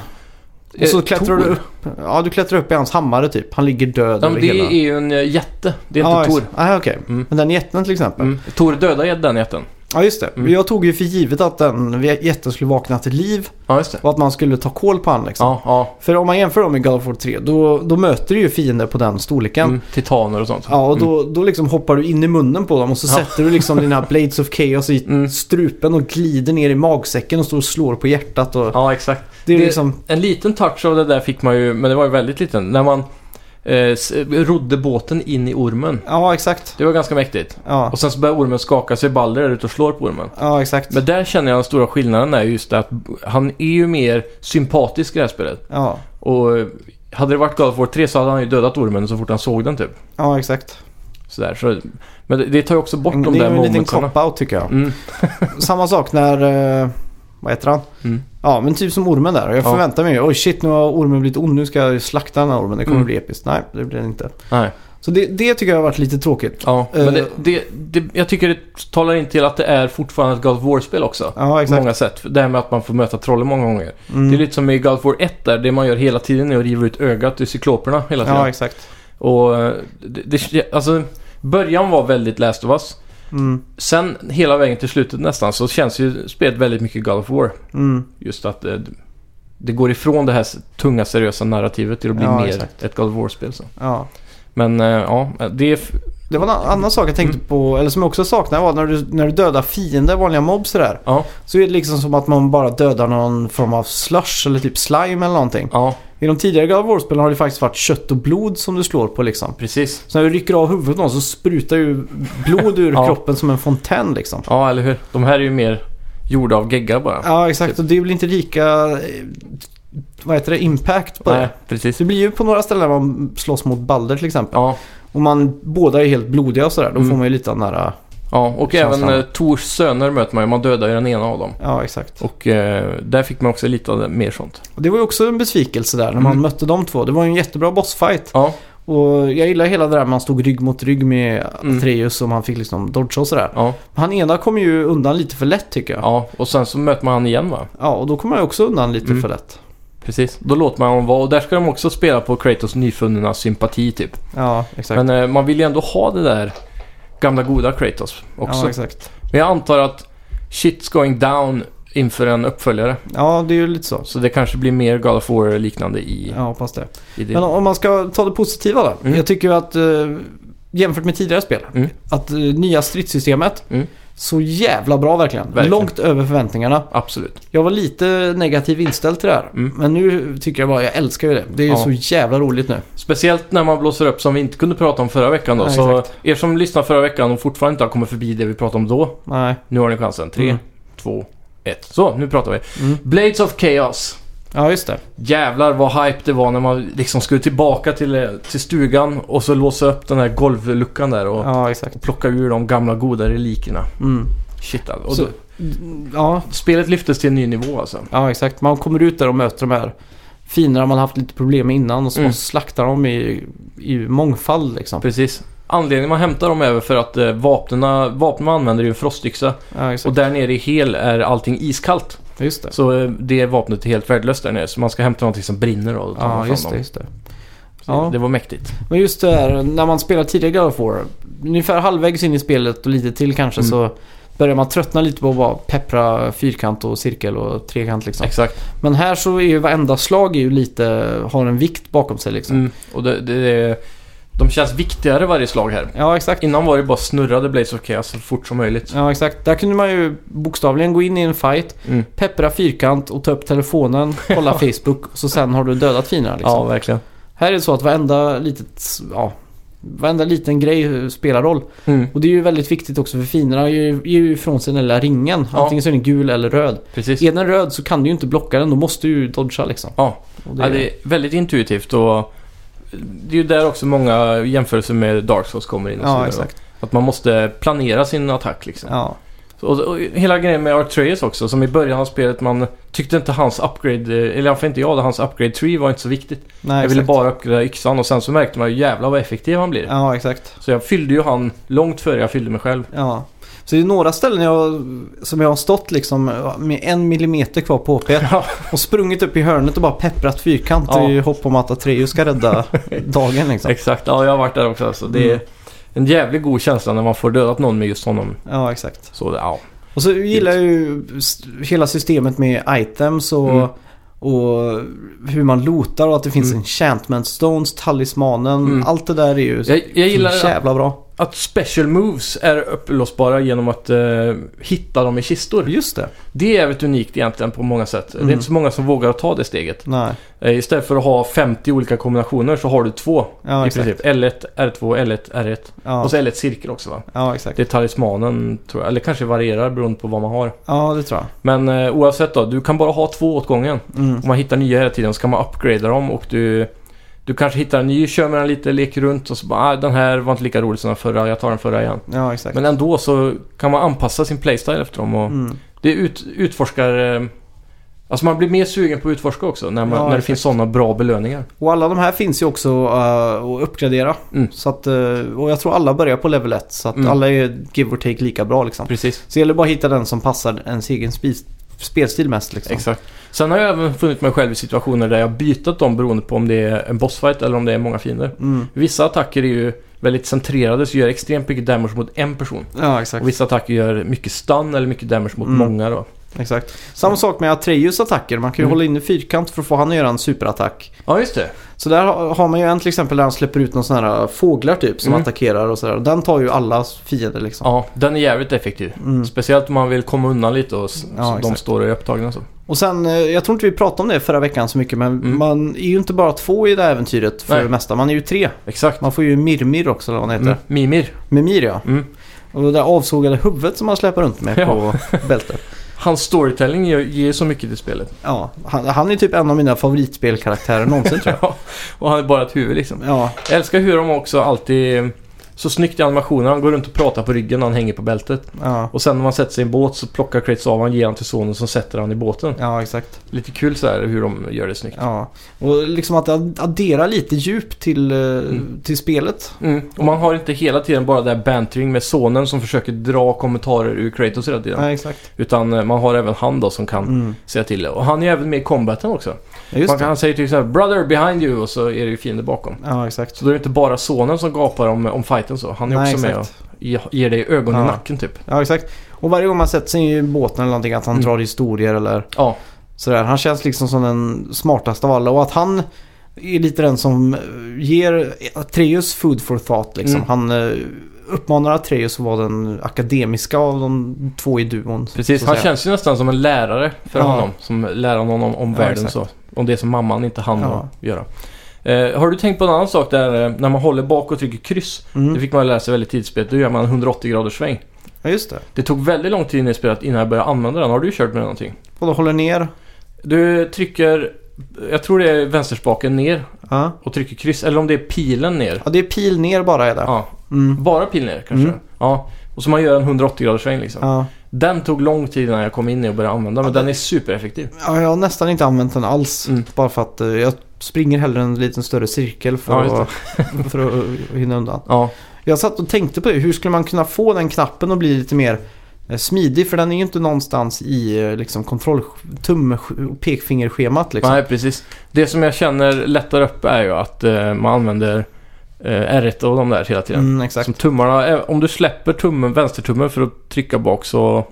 Och så
Eh,
klättrar
Thor.
du upp, ja du klättrar upp i hans hammare typ. Han ligger död
Ja,
över
men det
hela.
är ju en eh, jätte. Det är inte
ja,
Tor.
ex- Nej, okej.
Mm.
Men den jätten till exempel.
Mm. Tor dödar den jätten.
Ja, just det.
Mm.
Jag tog ju för givet att den jätten skulle vakna till liv
Ja, just det.
och att man skulle ta koll på han liksom.
Ja, ja.
För om man jämför dem med God of War 3, då, då möter du ju fiender på den storleken.
Mm. Titaner och sånt.
Ja, och då, då liksom hoppar du in i munnen på dem och så
Ja.
sätter du liksom
(laughs)
dina Blades of Chaos i
Mm.
strupen och glider ner i magsäcken och står och slår på hjärtat. Och
Ja, exakt.
det är
det-
liksom,
En liten touch av det där fick man ju, men det var ju väldigt liten. När man eh, s- rodde båten in i ormen.
ja exakt.
Det var ganska mäktigt.
Ja,
Och sen så börjar ormen skaka sig Balder där ute och slår på ormen.
ja exakt.
Men där känner jag den stora skillnaden är just det att han är ju mer sympatisk i det här spelet.
Ja,
Och eh, hade det varit God of War 3 så hade han ju dödat ormen så fort han såg den typ.
ja exakt.
Sådär. Så, men det, det tar ju också bort
Mm, Det
de där
är ju en liten
momentsarna.
cop-out tycker jag.
Mm.
Samma sak när, eh, vad heter han?
Mm.
Ja, men typ som ormen där. Jag
Ja.
förväntar mig ju, oj shit nu har ormen blivit ond, nu ska jag ju slakta den här ormen, det kommer
Mm.
bli episkt. Nej, det blir det inte.
Nej.
Så det, det tycker jag har varit lite tråkigt.
Ja, men
Eh.
det, det, det, jag tycker det talar in till att det är fortfarande ett God of War-spel också.
Ja,
På
exakt.
många sätt. Det här med att man får möta trollen många gånger.
Mm.
Det är lite som i God of War 1 där, det man gör hela tiden är att riva ut ögat ur cykloperna hela tiden.
Ja, exakt.
och eh, det, det, alltså, början var väldigt Last of Us.
Mm.
Sen hela vägen till slutet nästan så känns ju spelet väldigt mycket God of War.
Mm.
Just att eh, det går ifrån det här s- tunga seriösa narrativet till att bli
Ja,
mer
exakt.
ett God of War-spel. Så.
Ja.
Men eh, ja, det är... f-
Det var en annan sak jag
Mm.
tänkte på, eller som jag också saknar var när du, när du dödar fiender, vanliga mobs sådär.
Ja,
Så är det liksom som att man bara dödar någon form av slush eller typ slime eller någonting.
ja,
I de tidigare God of War-spelen har det faktiskt varit kött och blod som du slår på liksom.
precis.
Så när du rycker av huvudet på någon så sprutar ju blod ur
(laughs) Ja.
kroppen som en fontän liksom.
Ja, eller hur? De här är ju mer gjorda av geggar bara.
Ja,
Typ.
exakt. Och det blir inte lika, eh, vad heter det, impact på
Nej,
det.
precis.
Det blir ju på några ställen där man slåss mot Balder till exempel.
Ja,
Och man båda är helt blodiga och sådär. Då
Mm.
får man ju lite av den här,
ja och
Känslan.
även eh, Tors söner möter man ju. Man dödar ju den ena av dem.
ja exakt.
Och eh, där fick man också lite av det, mer sånt.
Och Det var ju också en besvikelse där när man
Mm.
mötte de två. Det var ju en jättebra bossfight.
Ja,
Och jag gillar hela det där man stod rygg mot rygg med
Mm.
Atreus och man fick liksom dodga och sådär.
Ja,
Han ena kom ju undan lite för lätt tycker jag. Ja,
ja, och sen så möter man han igen va?
och då kom han ju också undan lite
Mm.
för lätt.
Precis. Då låter man honom vara och där ska de också spela på Kratos nyfunna sympati typ.
Ja, exakt.
Men eh, man vill ju ändå ha det där gamla goda Kratos också.
Ja, exakt.
Men jag antar att shit's going down inför en uppföljare.
Ja, det är ju lite så.
Så det kanske blir mer God of War liknande i,
Ja, hoppas det.
i det.
Men om man ska ta det positiva då.
Mm.
Jag tycker ju att eh, jämfört med tidigare spel,
Mm.
att eh, nya stridssystemet,
Mm.
så jävla bra verkligen.
Verkligen.
Långt över förväntningarna.
Absolut.
Jag var lite negativ inställd till det här.
Mm.
Men nu tycker jag bara, jag älskar ju det. Det är ju
Ja.
så jävla roligt nu.
Speciellt när man blåser upp som vi inte kunde prata om förra veckan då.
Nej,
så er som lyssnar förra veckan och fortfarande inte har kommit förbi det vi pratade om då.
Nej.
Nu har ni chansen. Tre,
Mm.
två, ett. Så, nu pratar vi.
Mm.
Blades of Chaos.
Ja, just det.
Jävlar vad hype det var när man liksom skulle tillbaka till, eh, till stugan och så låsa upp den här golvluckan där och
Ja, exakt.
plocka ur de gamla goda relikerna.
Mm.
Shit alltså. Och
Så-
då-
Ja,
Spelet lyftes till en ny nivå alltså.
ja, exakt. Man kommer ut där och möter de här finerna man haft lite problem med innan och så
Mm.
man slaktar dem i, i mångfald liksom.
Precis. Anledningen man hämtar dem är väl för att eh, vapnena, vapnen man använder är ju en frostyxa.
Ja,
Och
exakt.
där nere i Hel är allting iskallt.
Just det.
Så eh, det vapnet är helt värdelöst där nere. Så man ska hämta någonting som brinner och ta
Ja,
fram
just
dem.
det, just det.
Så
Ja.
Det var mäktigt.
Men just det här när man spelar tidigare God of War. Ungefär halvvägs in i spelet och lite till kanske
Mm.
så börjar man tröttna lite på att bara peppra fyrkant och cirkel och trekant liksom.
Exakt.
Men här så är ju varenda slag är ju lite, har en vikt bakom sig liksom.
Mm. Och det, det, det, de känns viktigare varje slag här.
Ja, exakt.
Innan var det bara snurrade Blaze of Chaos så alltså, fort som möjligt.
Ja, exakt. Där kunde man ju bokstavligen gå in i en fight,
Mm.
peppra fyrkant och ta upp
(laughs)
telefonen, kolla Facebook och så sen har du dödat fienderna liksom.
Ja, verkligen.
Här är det så att varenda litet, ja, varenda liten grej spelar roll.
Mm.
Och det är ju väldigt viktigt också för finerna ger ju- ger ju ifrån sig den lilla ringen.
Ja.
Antingen så är den gul eller röd.
Precis.
Är den röd så kan du ju inte blocka den, då måste du ju dodga liksom.
Ja.
Och
Det... Ja, det är väldigt intuitivt och det är ju där också många jämförelser med Dark Souls kommer in och så
ja
vidare.
exakt.
Att man måste planera sin attack liksom.
Ja.
Och, och hela grejen med Artreus också, som i början av spelet man tyckte inte hans upgrade, eller i alla fall inte jag, hans upgrade tree var inte så viktigt.
Nej,
jag ville
exakt.
bara uppgradera yxan och sen så märkte man ju jävlar vad effektiv han blir.
Ja, exakt.
Så jag fyllde ju han långt före jag fyllde mig själv.
Ja. Så det är några ställen jag, som jag har stått liksom med en millimeter kvar på HP
Ja.
och sprungit upp i hörnet och bara pepprat fyrkant
Ja.
i hopp om att Atreus ska
(laughs)
rädda dagen liksom.
Exakt, ja jag har varit där också alltså. Det är
Mm.
en jävligt god känsla när man får dödat någon med just honom.
Ja, exakt.
Så det- ja.
Och så gillar jag ju s- hela systemet med items och,
Mm.
och hur man lotar och att det finns
Mm.
enchantment stones, talismanen.
Mm.
Allt det där är ju
Jag, jag gillar
så jävla bra.
att special moves är upplåsbara genom att eh, hitta dem i kistor.
Just det.
Det är jävligt unikt egentligen på många sätt. Det
Mm.
är inte så många som vågar ta det steget.
Nej.
Eh, istället för att ha 50 olika kombinationer så har du två.
Ja,
I
exakt.
princip. L1, R2, L1, R1.
Ja,
Och så L1 cirkel också va?
ja, exakt.
Det är talismanen tror jag. Eller kanske varierar beroende på vad man har.
Ja, det tror jag.
Men eh, oavsett då, du kan bara ha två åt gången.
Mm.
Om man hittar nya hela tiden så kan man upgrada dem och du... Du kanske hittar en ny, kör med den lite, leker runt och så bara ah, den här var inte lika rolig som den förra, jag tar den förra igen.
Ja, exakt.
Men ändå så kan man anpassa sin playstyle efter dem och
Mm.
det ut, utforskar... eh, Alltså man blir mer sugen på att utforska också när, man,
Ja,
när det
exakt.
finns sådana bra belöningar.
Och alla de här finns ju också eh, att uppgradera.
Mm.
Så att, eh, och jag tror alla börjar på level 1 så att
Mm.
alla är give or take lika bra liksom.
Precis.
Så det gäller bara att hitta den som passar ens egen spi- spelstil mest liksom.
Exakt. Sen har jag även funnit mig själv i situationer där jag har bytt dem beroende på om det är en bossfight eller om det är många fiender.
Mm.
Vissa attacker är ju väldigt centrerade så gör extremt mycket damage mot en person.
Ja, exakt.
Och vissa attacker gör mycket stun eller mycket damage mot
Mm.
många då.
Exakt. Samma sak med Atreus attacker. Man kan ju
Mm.
hålla inne fyrkant för att få han att göra en superattack.
Ja, just det.
Så där har har man ju en till exempel där han släpper ut någon sån här fåglar typ som
Mm.
attackerar och sådär. Den tar ju alla fiender liksom.
Ja, den är jävligt effektiv.
Mm.
Speciellt om man vill komma undan lite och s-
Ja,
så de
exakt.
står och är upptagna så.
Och sen, eh, jag tror inte vi pratade om det förra veckan så mycket men
Mm.
man är ju inte bara två i det här äventyret för
Nej.
det mesta. Man är ju tre.
Exakt.
Man får ju Mirmir också eller vad han heter.
Mm. Mimir.
Mimir ja.
Mm.
Och det där avsågade huvudet som han släpar runt med
Ja.
på bältet.
Hans storytelling ger, ger så mycket till spelet.
Ja, han, han är typ en av mina
(laughs)
favoritspelkaraktärer någonsin tror jag.
och han är bara ett huvud liksom.
Ja,
Jag älskar hur de också alltid Så snyggt i animationen. Han går runt och pratar på ryggen när han hänger på bältet.
Ja,
Och sen när man sätter sig i en båt så plockar Kratos av han ger han till sonen som sätter han i båten.
ja exakt.
Lite kul så här hur de gör det snyggt.
Ja. Och liksom att ad- addera lite djup till, eh, till spelet.
Mm. Och man har inte hela tiden bara det här bantering med sonen som försöker dra kommentarer ur Kratos hela tiden.
Ja, exakt.
Utan eh, man har även han då som kan
Mm.
säga till det. Och han är även med i combaten också.
Ja, just
Man kan,
det.
han säger till exempel “Brother behind you” och så är det ju fiender bakom.
Ja, exakt.
Så då är det inte bara sonen som gapar om, om fighten så. Han är
Nej,
också
exakt.
med och ge- ger dig ögon
Ja.
i nacken typ.
Ja, exakt. Och varje gång man sätter sig i båten eller någonting att han
Mm.
drar historier eller
Ja,
sådär. Han känns liksom som den smartaste av alla och att han är lite den som eh, ger Atreus food for thought liksom.
Mm.
Han eh, uppmanar Atreus att vara den akademiska av de två i duon.
precis.
så att
Han
säga.
känns ju nästan som en lärare för
Ja.
honom. Som lär honom om, om
Ja,
världen
exakt.
så. Om det som mamman inte hann
Ja.
att göra. Eh, har du tänkt på en annan sak där eh, när man håller bak och trycker kryss?
Mm.
Det fick man lära sig väldigt tidigt i spelet. Då gör man en 180 graders sväng.
Ja, just det.
Det tog väldigt lång tid in i spelet innan jag började använda den. Har du kört med någonting?
Och då håller ner.
Du trycker, jag tror det är vänsterspaken ner
Ja.
och trycker kryss. Eller om det är pilen ner.
ja, det är pil ner bara är det.
Ja,
Mm.
bara pil ner kanske.
Mm.
Ja, och så man gör en 180 graders sväng liksom.
Ja.
Den tog lång tid innan jag kom in i och började använda men
Ja,
den är supereffektiv.
Ja, jag har nästan inte använt den alls.
Mm.
Bara för att eh, jag springer hellre en liten större cirkel för,
Ja,
att, för att eh, hinna undan.
Ja,
Jag satt och tänkte på det. Hur skulle man kunna få den knappen att bli lite mer eh, smidig? För den är ju inte någonstans i eh, liksom, kontroll tumme och pekfingerschemat. Liksom.
nej precis. Det som jag känner lättar upp är ju att eh, man använder eh, R1 och de där hela tiden.
mm, exakt.
Som tummarna, eh, om du släpper tummen, vänstertummen för att trycka bak så...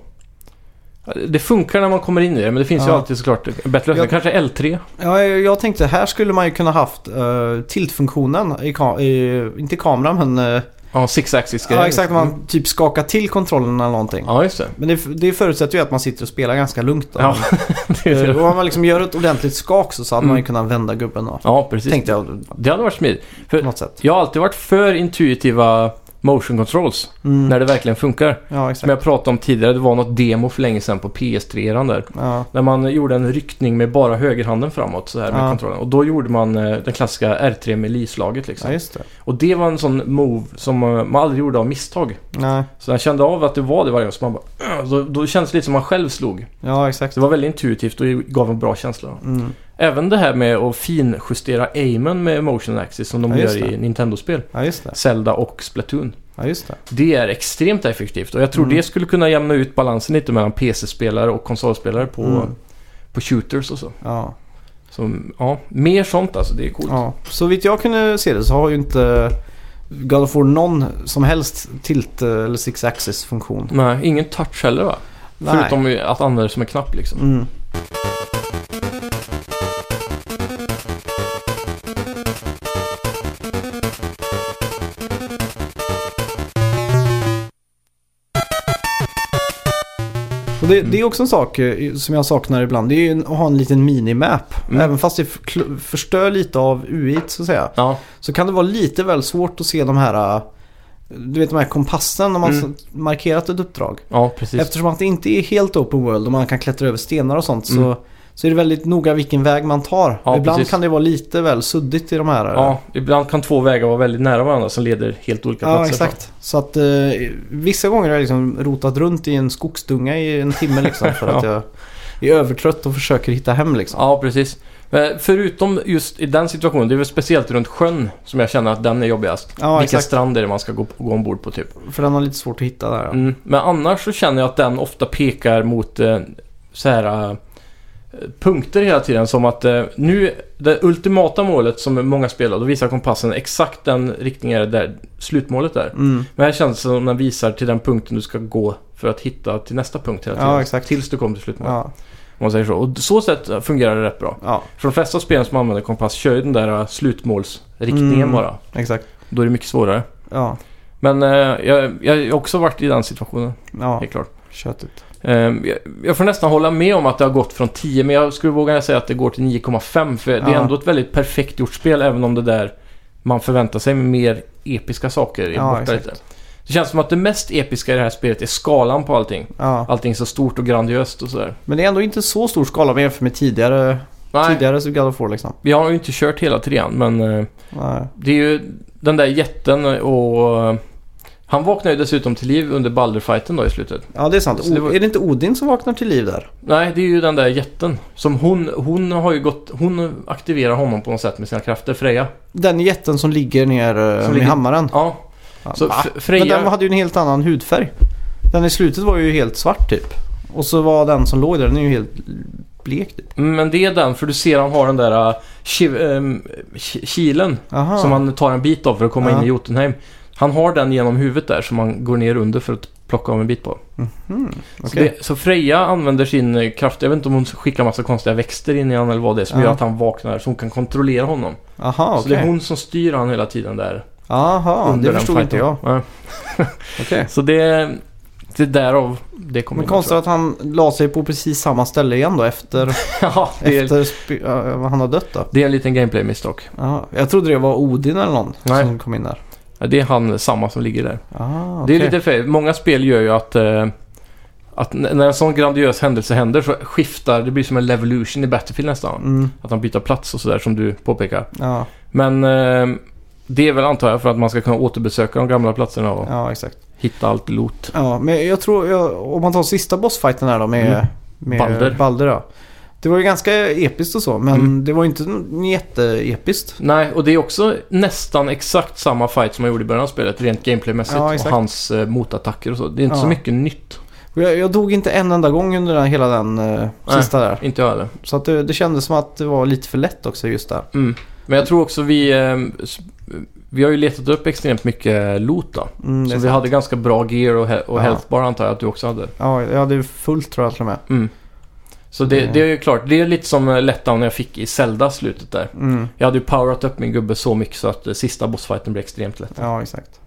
Det funkar när man kommer in i det men det finns ju
Ja.
alltid såklart en bättre lösning.
Jag-
Kanske L3?
Ja, jag, jag tänkte här skulle man ju kunna haft uh, tiltfunktionen. I ka- i, inte i kameran men... eh,
Ja, six axis
ja, exakt. Man typ skakar till kontrollen eller någonting.
Mm.
(laughs)
Ja, just det.
Men det, det förutsätter ju att man sitter och spelar ganska lugnt. Då.
Ja, det är
Eh,
det.
Och om man liksom gör ett ordentligt skak så, så hade man ju
Mm.
kunnat vända gubben då.
ja precis.
Tänkte jag
Det hade varit smidigt.
på något sätt.
Jag har alltid varit för intuitiva motion controls
Mm.
när det verkligen funkar.
Ja,
Som
exakt.
jag pratade om tidigare, det var något demo för länge sedan på PS3 där.
Ja,
När man gjorde en ryckning med bara högerhanden framåt så här med
Ja.
kontrollen. Och då gjorde man eh, den klassiska R3 med Li-slaget liksom.
ja, just det.
Och det var en sån move som eh, man aldrig gjorde av misstag.
Nej.
Så jag kände av att det var det varje gång. Så man bara, "Ugh", då, då kändes det lite som man själv slog.
Ja, exakt.
Så det var väldigt intuitivt och gav en bra känsla.
Mm.
Även det här med att finjustera aimen med motion axis som de
Ja, just
gör i Nintendo-spel.
Ja, just det.
Zelda och Splatoon.
Ja, just det.
Det är extremt effektivt och jag tror
Mm.
det skulle kunna jämna ut balansen lite mellan PC-spelare och konsolspelare på,
Mm.
på shooters och så.
Ja.
Så ja, mer sånt alltså. Det är coolt.
ja. Så vitt jag kunde se det så har ju inte God of War någon som helst tilt eh, eller six axis funktion.
Nej, ingen touch heller va?
Nej.
Förutom ju att använda det som en knapp liksom.
Mm. Och det,
Mm.
det är också en sak eh, som jag saknar ibland. Det är ju en- att ha en liten minimap.
Mm.
Även fast det förkl- förstör lite av UI så att säga.
Ja,
Så kan det vara lite väl svårt att se de här, eh, du vet de här kompassen när man
Mm.
s- markerat ett uppdrag.
ja precis.
Eftersom att det inte är helt open world och man kan klättra över stenar och sånt
Mm.
så, så är det väldigt noga vilken väg man tar.
Ja,
Ibland
precis.
kan det vara lite väl suddigt i de här. äh,
Ja, ibland kan två vägar vara väldigt nära varandra som leder helt olika
Ja,
platser.
exakt. Så att eh, vissa gånger har jag liksom rotat runt i en skogsdunga i en timme liksom
(laughs)
för att jag är övertrött och försöker hitta hem liksom.
Ja, precis. Men Förutom just i den situationen, det är väl speciellt runt sjön som jag känner att den är jobbigast.
Ja,
Vilken
exakt.
strand är det man ska gå, gå ombord på typ?
För den har lite svårt att hitta där. ja.
Mm. Men annars så känner jag att den ofta pekar mot eh, så här eh, punkter hela tiden som att eh, nu det ultimata målet som många spelar då visar kompassen exakt den riktningen är där slutmålet är.
Mm.
Men här känns det som den visar till den punkten du ska gå för att hitta till nästa punkt hela
Ja,
tiden.
exakt.
Tills du kommer till slutmålet.
Ja,
Om man säger så. Och så sätt fungerar det rätt bra.
ja,
För de flesta spelen som använder kompass kör ju den där eh, slutmålsriktningen
Mm.
bara.
exakt.
Då är det mycket svårare.
Ja,
Men eh, jag, jag har också varit i den situationen,
ja,
helt klart.
köttigt.
Ehm, jag, jag får nästan hålla med om att det har gått från 10, men jag skulle våga säga att det går till 9,5. För det är
Ja.
ändå ett väldigt perfekt gjort spel, även om det där man förväntar sig mer episka saker är
Ja,
borta
exakt.
lite. Det känns som att det mest episka i det här spelet är skalan på allting.
Ja.
Allting är så stort och grandiöst och sådär.
Men det är ändå inte så stor skala om jag jämför med tidigare,
Nej,
tidigare så God of War liksom.
jag har ju inte kört hela trean, men eh,
Nej.
det är ju den där jätten och eh, Han vaknade ju dessutom till liv under Balder-fighten då i slutet.
Ja, det är sant.
Så det var-
O- Är det inte Odin som vaknar till liv där?
Nej, det är ju den där jätten. Som hon, hon har ju gått... Hon aktiverar honom på något sätt med sina krafter, Freja.
Den jätten som ligger ner eh, med
ligger-
hammaren.
Ja,
Ja,
så
va?
F-
Men den
Freja...
hade ju en helt annan hudfärg. Den i slutet var ju helt svart typ. Och så var den som låg där, den är ju helt blek typ.
Men det är den, för du ser han har den där äh, kiv, ehm, ki- kilen
Aha.
som han tar en bit av för att komma
Ja.
in i Jotunheim. Han har den genom huvudet där som han går ner under för att plocka av en bit på. Så,
Mhm, Okej.
det, så Freja använder sin eh, kraft, jag vet inte om hon skickar massa konstiga växter in i honom eller vad det är, som
Ja.
gör att han vaknar så hon kan kontrollera honom.
Aha,
Så det är
Ah. okej.
hon som styr han hela tiden där.
Aha,
under
det
den
förstod inte jag.
fighten. Nej.
Okej.
Så det, det är därav det kommer
Men konstigt att han la sig på precis samma ställe igen då efter,
(laughs) ja, (laughs) det är,
efter sp- äh, han har dött då.
det är en liten gameplay-misstag.
Aha. Jag trodde det var Odin eller någon
Nej.
som kom in där.
Ja, Det är han, samma som ligger där.
Aha,
Det är
Ah, okej.
lite fel. Många spel gör ju att, eh, att n- när en sån grandiös händelse händer så skiftar, det blir som en levolution i Battlefield nästan.
Mm,
Att han byter plats och sådär som du påpekar.
ja,
Men eh, det är väl antar jag för att man ska kunna återbesöka de gamla platserna och
ja, exakt.
hitta allt loot.
Ja, men jag tror, jag, om man tar sista bossfighten här då med,
Mm.
med
Balder.
ja. Det var ju ganska episkt och så, men
Mm.
det var ju inte n- jätteepiskt.
Nej, och det är också nästan exakt samma fight som man gjorde i början av spelet rent gameplaymässigt.
Ja,
och
exakt.
hans eh, motattacker och så. Det är inte
Ja.
så mycket nytt.
Och Jag, jag dog inte en enda gång under den, hela den eh,
Nej.
sista där.
Inte jag heller.
Så att det, det kändes som att det var lite för lätt också just där.
Mm. Men jag tror också vi... Eh, s- vi har ju letat upp extremt mycket loot då.
Mm, det
Så
är
vi
sant.
hade ganska bra gear och, he- och
Ja.
health bar antar jag att du också hade.
Ja, jag hade fullt tror jag till och med.
Mm. Så det,
Mm.
det är ju klart, det är lite som eh, letdown jag fick i Zelda slutet där.
Mm.
Jag hade ju powerat upp min gubbe så mycket så att eh, sista bossfighten blev extremt lätt.
Ja, exakt.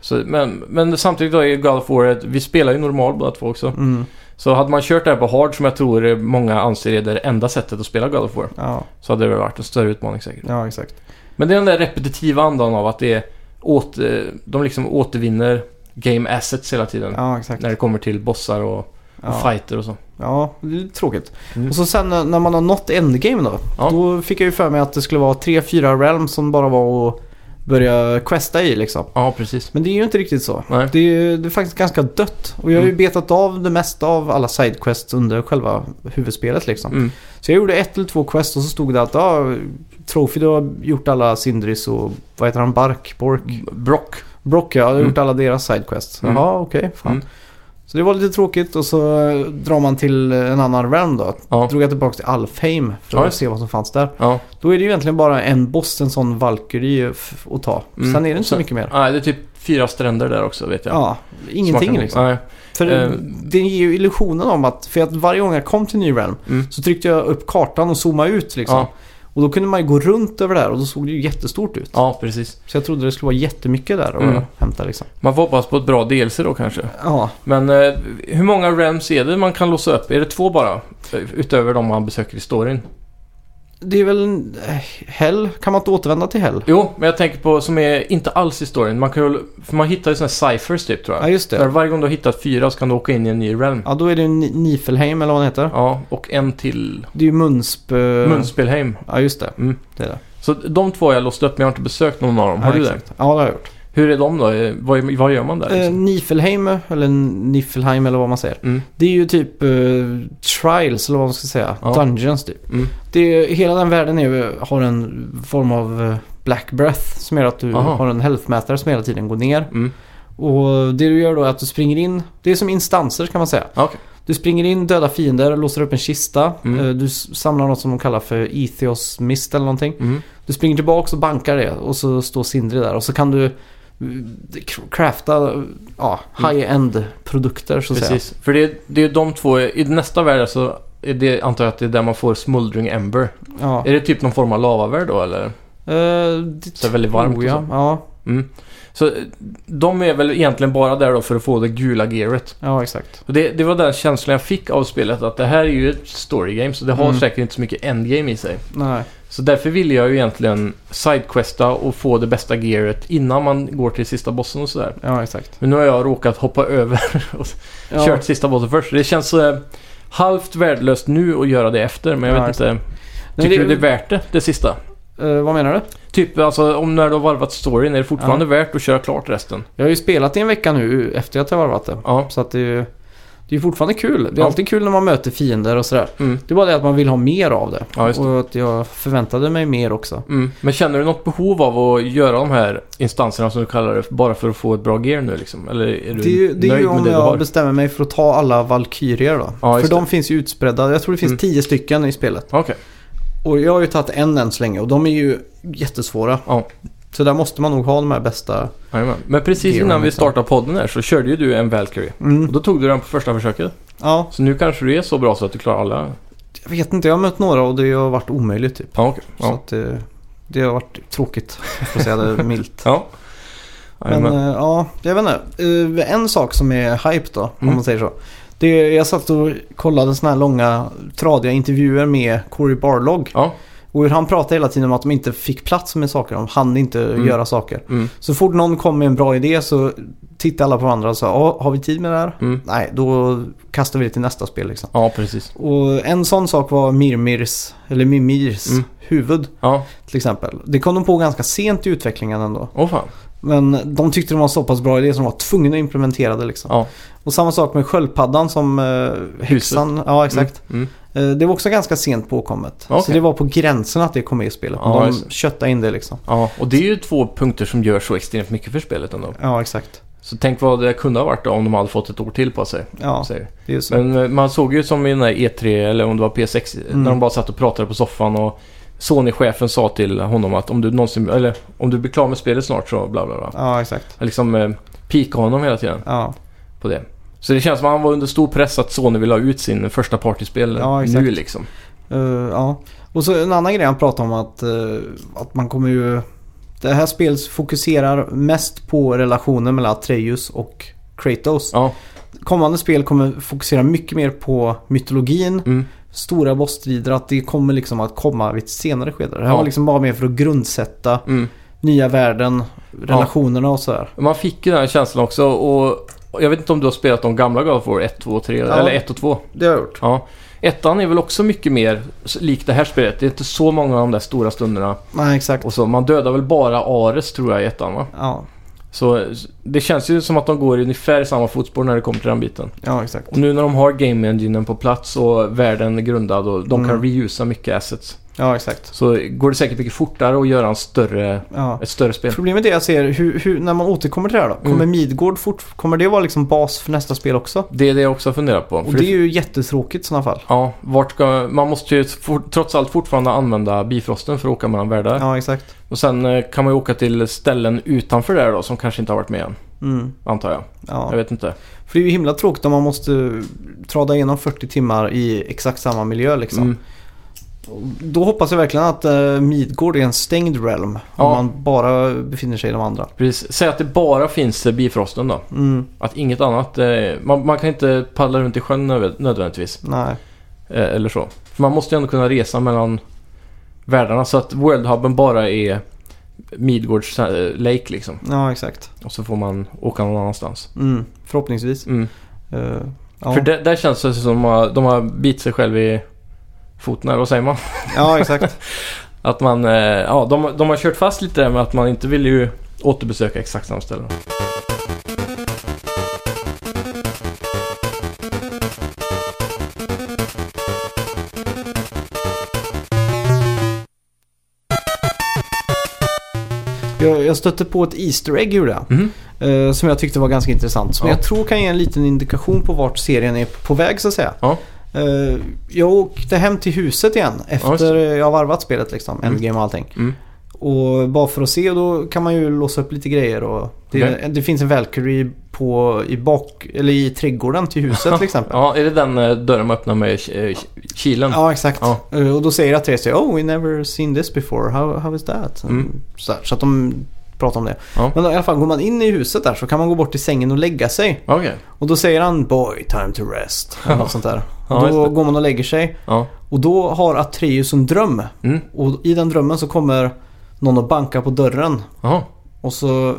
Så, men, men samtidigt då är God of War, ett- vi spelar ju normal båda två också.
Mm.
Så hade man kört det här på hard som jag tror eh, många anser är det enda sättet att spela God of War.
Ja,
Så hade det väl varit en större utmaning säkert.
ja, exakt.
Men det är den där repetitiva andan av att det är åter, de liksom återvinner game assets hela tiden.
Ja, exakt.
När det kommer till bossar och, och
Ja,
fighter och så.
ja det är lite tråkigt.
Mm.
Och så sen eh, när man har nått endgame då.
Ja.
Då fick jag ju för mig att det skulle vara tre, fyra realms som bara var att börja questa i liksom.
Ja, precis.
Men det är ju inte riktigt så.
Nej.
Det är, ju- det är faktiskt ganska dött. Och jag har ju
Mm.
betat av det mesta av alla sidequests under själva huvudspelet liksom.
Mm.
Så jag gjorde ett eller två quest och så stod det att ja, Trophy du har gjort alla Sindris och vad heter han? Bark? Bork?
Mm. Brock.
Brock ja, jag har
Mm.
gjort alla deras sidequests.
Mm.
Jaha, okej. fan.
Mm.
Så det var lite tråkigt och så eh, drar man till en annan realm då.
Ja.
Drog jag tillbaka till Alfheim för
Ja,
att
just.
se vad som fanns där.
Ja.
Då är det ju egentligen bara en boss, en sån Valkyrie eh, f- att ta.
Mm.
Sen är det inte så
Sen-
mycket mer.
Nej, det är typ fyra stränder där också vet jag.
Ja,
Som man
ingenting
kan-
liksom.
Nej.
För
eh,
det ger ju illusionen om att, för att varje gång jag kom till New Realm
Mm.
så tryckte jag upp kartan och zoomade ut liksom.
Ja.
Och då kunde man ju gå runt över där och då såg det ju jättestort ut.
ja, precis.
Så jag trodde det skulle vara jättemycket där att
Mm.
hämta liksom.
Man får hoppas på ett bra DLC då kanske.
Ja,
Men eh, hur många rems är det man kan låsa upp? Är det två bara? Utöver de man besöker i storyn?
det är väl en- eh, Hell? Kan man inte återvända till Hell?
Jo, men jag tänker på som är inte alls i storyn. Man, kan, ju- för man hittar ju såna här ciphers typ tror jag.
Ja, just
Där
det.
varje gång du har hittat fyra så kan du åka in i en ny realm. Ja,
Ja, då är det ju Ni- Nifelheim eller vad den heter.
och en till
Det är ju Munsp... eh,
Munspelheim.
Ja, just det.
Mm.
Det är det.
Så de två har jag låst upp men jag har inte besökt någon av dem. Har
ja,
du det?
exakt. Ja, det har jag gjort.
Hur är de då? Eh, Vad, vad gör man där?
Eh,
Liksom?
Nifelheim, eller Nifelheim eller vad man säger.
Mm.
Det är ju typ eh, trials eller vad man ska säga.
Ja.
Dungeons typ.
Mm.
Det är, hela den världen är, ju- har en form av eh, black breath som gör att du
Aha.
har en healthmätare som hela tiden går ner.
Mm.
Och det du gör då är att du springer in. Det är som instanser kan man säga.
Ja, okej.
Du springer in, dödar fiender, låser upp en kista.
Mm.
Eh, Du s- samlar något som de kallar för Ethios mist eller någonting.
Mm.
Du springer tillbaka och bankar det och så står Sindri där och så kan du eh, crafta eh, ja,
Mm.
high-end produkter så att säga.
Precis. För det är, det är de två. I nästa värld så är det, antar jag att det är där man får Smuldering Ember.
Ja.
Är det typ någon form av lavavärld då eller?
Eh, det
Så det är väldigt varmt liksom?
tror jag.
och
Oh, Ja,
Så eh, de är väl egentligen bara där då för att få det gula gearet.
ja exakt.
Och det, det var den känslan jag fick av spelet att det här är ju ett story game så det har
Mm.
säkert inte så mycket endgame i sig.
Nej.
Så därför ville jag ju egentligen sidequesta och få det bästa gearet innan man går till sista bossen och sådär.
Ja, exakt.
Men nu har jag råkat hoppa över (laughs) och
Ja,
kört sista bossen först. Det känns eh, halvt värdelöst nu att göra det efter men jag
Ja,
vet
just
inte.
Nej,
Tycker
det-
du det är värt det, det sista?
Eh, vad menar du?
Typ alltså om när du har varvat storyn, är det fortfarande värt att köra klart resten?
Jag har ju spelat i en vecka nu efter att jag varvat det.
Ja.
Så att det är ju det är ju fortfarande kul. Det är
Ja.
alltid kul när man möter fiender och sådär.
Mm.
Det är bara det att man vill ha mer av det.
Ja, just det.
Och att jag förväntade mig mer också.
Mm. Men känner du något behov av att göra de här instanserna som du kallar det, bara för att få ett bra gear nu liksom? Eller är du
Det är ju, det är
nöjd
ju
med
om
det du
jag
har?
bestämmer mig för att ta alla Valkyrier då.
Ja, just
för de
det.
finns ju utspridda. Jag tror det finns
Mm.
tio stycken i spelet.
Okej,
Och jag har ju tagit en än så länge och de är ju jättesvåra.
ja.
Så där måste man nog ha de här bästa.
Jajamän. Men precis
Gear
innan vi
liksom.
startade podden här så körde ju du en Valkyrie. Och
Mm.
då tog du den på första försöket.
Ja,
Så nu kanske du är så bra så att du klarar alla.
jag vet inte. Jag har mött några och det har varit omöjligt typ.
Ja, okej.
Så
Ja.
att det, det har varit tråkigt. För att säga
(laughs)
det milt.
ja.
Men
Jajamän.
eh, ja, jag vet inte. Eh, en sak som är hype då, om
Mm.
man säger så. Det, är- jag satt och kollade sådana här långa tradiga intervjuer med Corey Barlog.
Ja.
Och hur han pratade hela tiden om att de inte fick plats med saker. De hann inte
Mm.
göra saker.
Mm.
Så fort någon kom med en bra idé så tittade alla på varandra och sa "Ja, har vi tid med det här?
Mm.
Nej, då kastar vi det till nästa spel liksom.
ja, precis.
Och en sån sak var Mirmirs, eller Mimirs
Mm.
huvud
Ja,
till exempel. Det kom de på ganska sent i utvecklingen ändå.
åh fan.
Men de tyckte det var en så pass bra idé som de var tvungna att implementera det liksom.
Ja.
Och samma sak med sköldpaddan som eh, häxan. Ja, exakt.
Mm.
Eh, det var också ganska sent påkommet. Så
Okej.
det var på gränsen att det kom med i spelet.
Ja,
Men
just
de köttade in det liksom.
Ja, och det är ju två punkter som gör så extremt mycket för spelet ändå.
Ja, exakt.
Så tänk vad det kunde ha varit då, om de hade fått ett år till på sig.
Ja,
säger vi.
det är ju så.
Men eh, man såg ju som i den där E3 eller om det var P6
Mm.
när de bara satt och pratade på soffan och Sony-chefen sa till honom att om du någonsin, eller om du blir klar med spelet snart så bla bla bla.
Ja, exakt.
Liksom eh, pika honom hela tiden
Ja,
på det. Så det känns som att han var under stor press att Sony ville ha ut sin första partyspel
Ja, exakt.
nu liksom.
Eh, ja. Och så en annan grej han pratade om att, eh, att man kommer ju... Det här spelet fokuserar mest på relationen mellan Atreus och Kratos.
Ja,
Kommande spel kommer fokusera mycket mer på mytologin.
mm,
stora bossstrider att det kommer liksom att komma vid ett senare skede. Det här
Ja.
var liksom bara mer för att grundsätta
mm.
nya världen, relationerna och sådär.
Man fick ju den här känslan också och och jag vet inte om du har spelat de gamla God of War 1, 2 och 3
Ja.
eller 1 och 2.
Det har jag gjort.
Ja. Ettan är väl också mycket mer s- likt det här spelet. Det är inte så många av de där stora stunderna.
Nej, exakt.
Och så, man dödar väl bara Ares tror jag i ettan va?
Ja,
Så s- det känns ju som att de går i ungefär samma fotspår när det kommer till den biten.
ja exakt.
Och nu när de har game enginen på plats och världen grundad och de kan
Mm.
reusa mycket assets.
Ja, exakt.
Så går det säkert mycket fortare att göra en större,
Ja.
ett större spel.
Problemet är jag ser, hur, hur, när man återkommer till det här då, kommer Midgård fort, kommer det vara liksom bas för nästa spel också?
Det är det jag också har funderat på.
Och
För
det är ju jättetråkigt i sådana fall.
Ja, vart ska, man måste ju for, trots allt fortfarande använda bifrosten för att åka mellan världar.
Ja, exakt.
Och sen eh, kan man ju åka till ställen utanför där då som kanske inte har varit med än,
Mm,
antar jag. Jag
ja.
vet inte.
För det är ju himla tråkigt om man måste trada igenom 40 timmar i exakt samma miljö liksom.
Mm.
Då hoppas jag verkligen att eh, Midgård är en stängd realm. Om
Ja.
man bara befinner sig i de andra.
Precis. Säg att det bara finns eh, bifrosten då.
Mm,
Att inget annat... Eh, man, man kan inte paddla runt i sjön nödvä- nödvändigtvis.
nej.
Eh, eller så. För man måste ju ändå kunna resa mellan världarna så att Worldhubben bara är Midgårds eh, Lake liksom.
Ja, exakt.
Och så får man åka någon annanstans.
Mm, förhoppningsvis.
Mm.
Eh, ja.
För där, där känns det som att de har bitit sig själv i foten, eller vad säger man?
ja, exakt.
Att man, eh, ja, de, de har kört fast lite där med att man inte vill ju återbesöka exakt samma ställen.
Jag, jag stötte på ett Easter Egg gjorde jag.
Mhm.
eh, som jag tyckte var ganska intressant. Som
Ja.
jag tror kan ge en liten indikation på vart serien är på väg så att säga.
Ja.
Eh, jag åkte hem till huset igen
Ja, just
efter
det.
jag har varvat spelet liksom. Endgame och allting.
Mm.
Och bara för att se och då kan man ju låsa upp lite grejer. Och det,
Okej.
det finns en Valkyrie på, i, bak, eller i trädgården till huset till exempel.
Ja, är det den eh, dörren man öppnar med eh, kilen?
Ja, exakt.
Ja.
Eh, Och då säger Atreus Oh, we never seen this before. How, how is that?
Mm.
Så, här, så att de pratar om det.
Ja.
Men i alla fall, går man in i huset där så kan man gå bort till sängen och lägga sig.
Okej.
Och då säger han Boy, time to rest. Eller något sånt där.
Ja,
Och
just
då
det.
går man och lägger sig.
Ja.
Och då har Atreus en dröm.
Mm.
Och i den drömmen så kommer någon och bankar på dörren.
Jaha.
Och så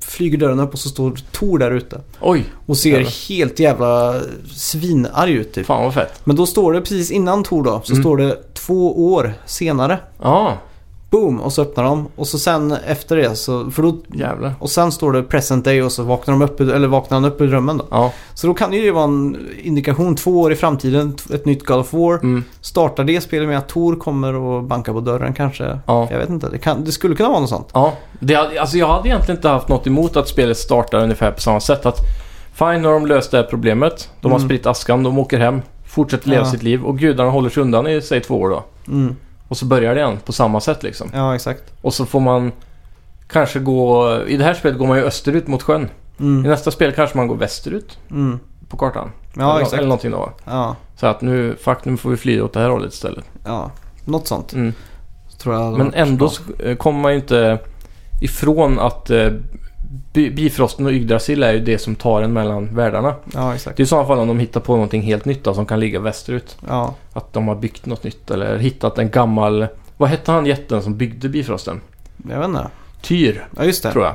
flyger dörren upp och så står Tor där ute.
Oj,
Och ser
Jävlar.
helt jävla svinarg ut typ.
fan Mm. vad fett.
Men då står det precis innan Tor då, så
Mm.
står det två år senare.
Ja,
Boom! Och så öppnar de. Och så sen efter det så... För då,
Jävlar.
och sen står det present day och så vaknar, de upp, eller vaknar han upp ur drömmen då.
Ja.
Så då kan ju det vara en indikation två år i framtiden, t- ett nytt God of War.
Mm.
Startar det spelet med att Tor kommer och bankar på dörren kanske?
Ja.
Jag vet inte. Det, kan, det skulle kunna vara något sånt.
Ja, det, hade- alltså jag hade egentligen inte haft något emot att spelet startar ungefär på samma sätt. Att fine, nu har de löst det här problemet. De har
Mm.
spritt askan, de åker hem, fortsätter leva
Ja.
sitt liv och gudarna håller sig undan i säg två år då.
Mm.
Och så börjar det igen på samma sätt liksom.
Ja, exakt.
Och så får man kanske gå... I det här spelet går man ju österut mot sjön. I
Mm.
nästa spel kanske man går västerut
Mm.
på kartan.
Ja,
eller,
exakt.
eller någonting då. va?
Ja,
Så att nu, fuck, nu får vi fly åt det här hållet istället.
ja. Något sånt.
Mm.
Tror jag hade
Men
varit
ändå
bra.
så eh, kommer man ju inte ifrån att eh, Bi- Bifrosten och Yggdrasil är ju det som tar en mellan världarna.
Ja, exakt.
Det är i sådana fall om de hittar på någonting helt nytt då, som kan ligga västerut.
Ja.
Att de har byggt något nytt eller hittat en gammal... Vad hette han jätten som byggde Bifrosten?
Jag vet inte.
Tyr,
Ja, just det.
tror jag.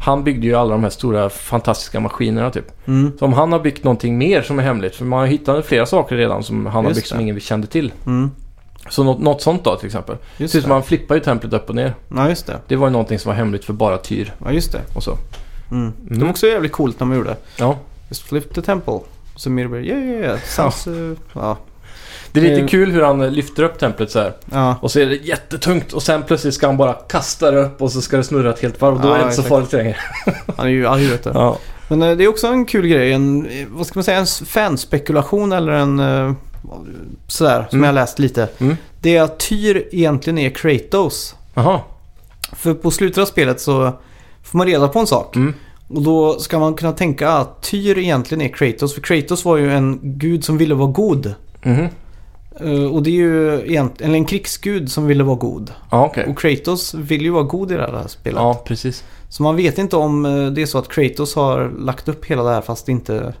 Han byggde ju alla de här stora fantastiska maskinerna typ.
Mm.
Så om han har byggt någonting mer som är hemligt, för man har hittat flera saker redan som han har
Just
byggt som
det.
ingen kände till.
Mm.
Så något, något sånt då till exempel.
Just
Precis,
det.
man flippar ju templet upp och ner.
Ja, just det.
Det var ju någonting som var hemligt för bara Tyr
Ja, just det.
och så.
Mm.
Mm.
Det var också jävligt coolt när man gjorde.
Ja.
Just flip the temple. Så Mirberg, yeah yeah yeah. Sounds, eh, ja.
Det är lite
Eh.
kul hur han eh, lyfter upp templet så här.
Ja.
Och så är det jättetungt och sen plötsligt ska han bara kasta det upp och så ska det snurra ett helt varv. Då
Ja,
är det inte så
exakt.
farligt längre.
Han är ju arg vet du.
Ja.
Men eh, det är också en kul grej. En, eh, vad ska man säga? En s- fanspekulation eller en eh, sådär som
Mm.
jag läst lite.
Mm.
Det är att Tyr egentligen är Kratos.
Jaha.
För på slutet av spelet så får man reda på en sak.
Mm.
Och då ska man kunna tänka att Tyr egentligen är Kratos. För Kratos var ju en gud som ville vara god.
Mhm.
Eh, Och det är ju egent- eller en krigsgud som ville vara god.
Ja, okej.
Och Kratos vill ju vara god i det här spelet.
Ja, precis.
Så man vet inte om eh, det är så att Kratos har lagt upp hela det här fast det inte...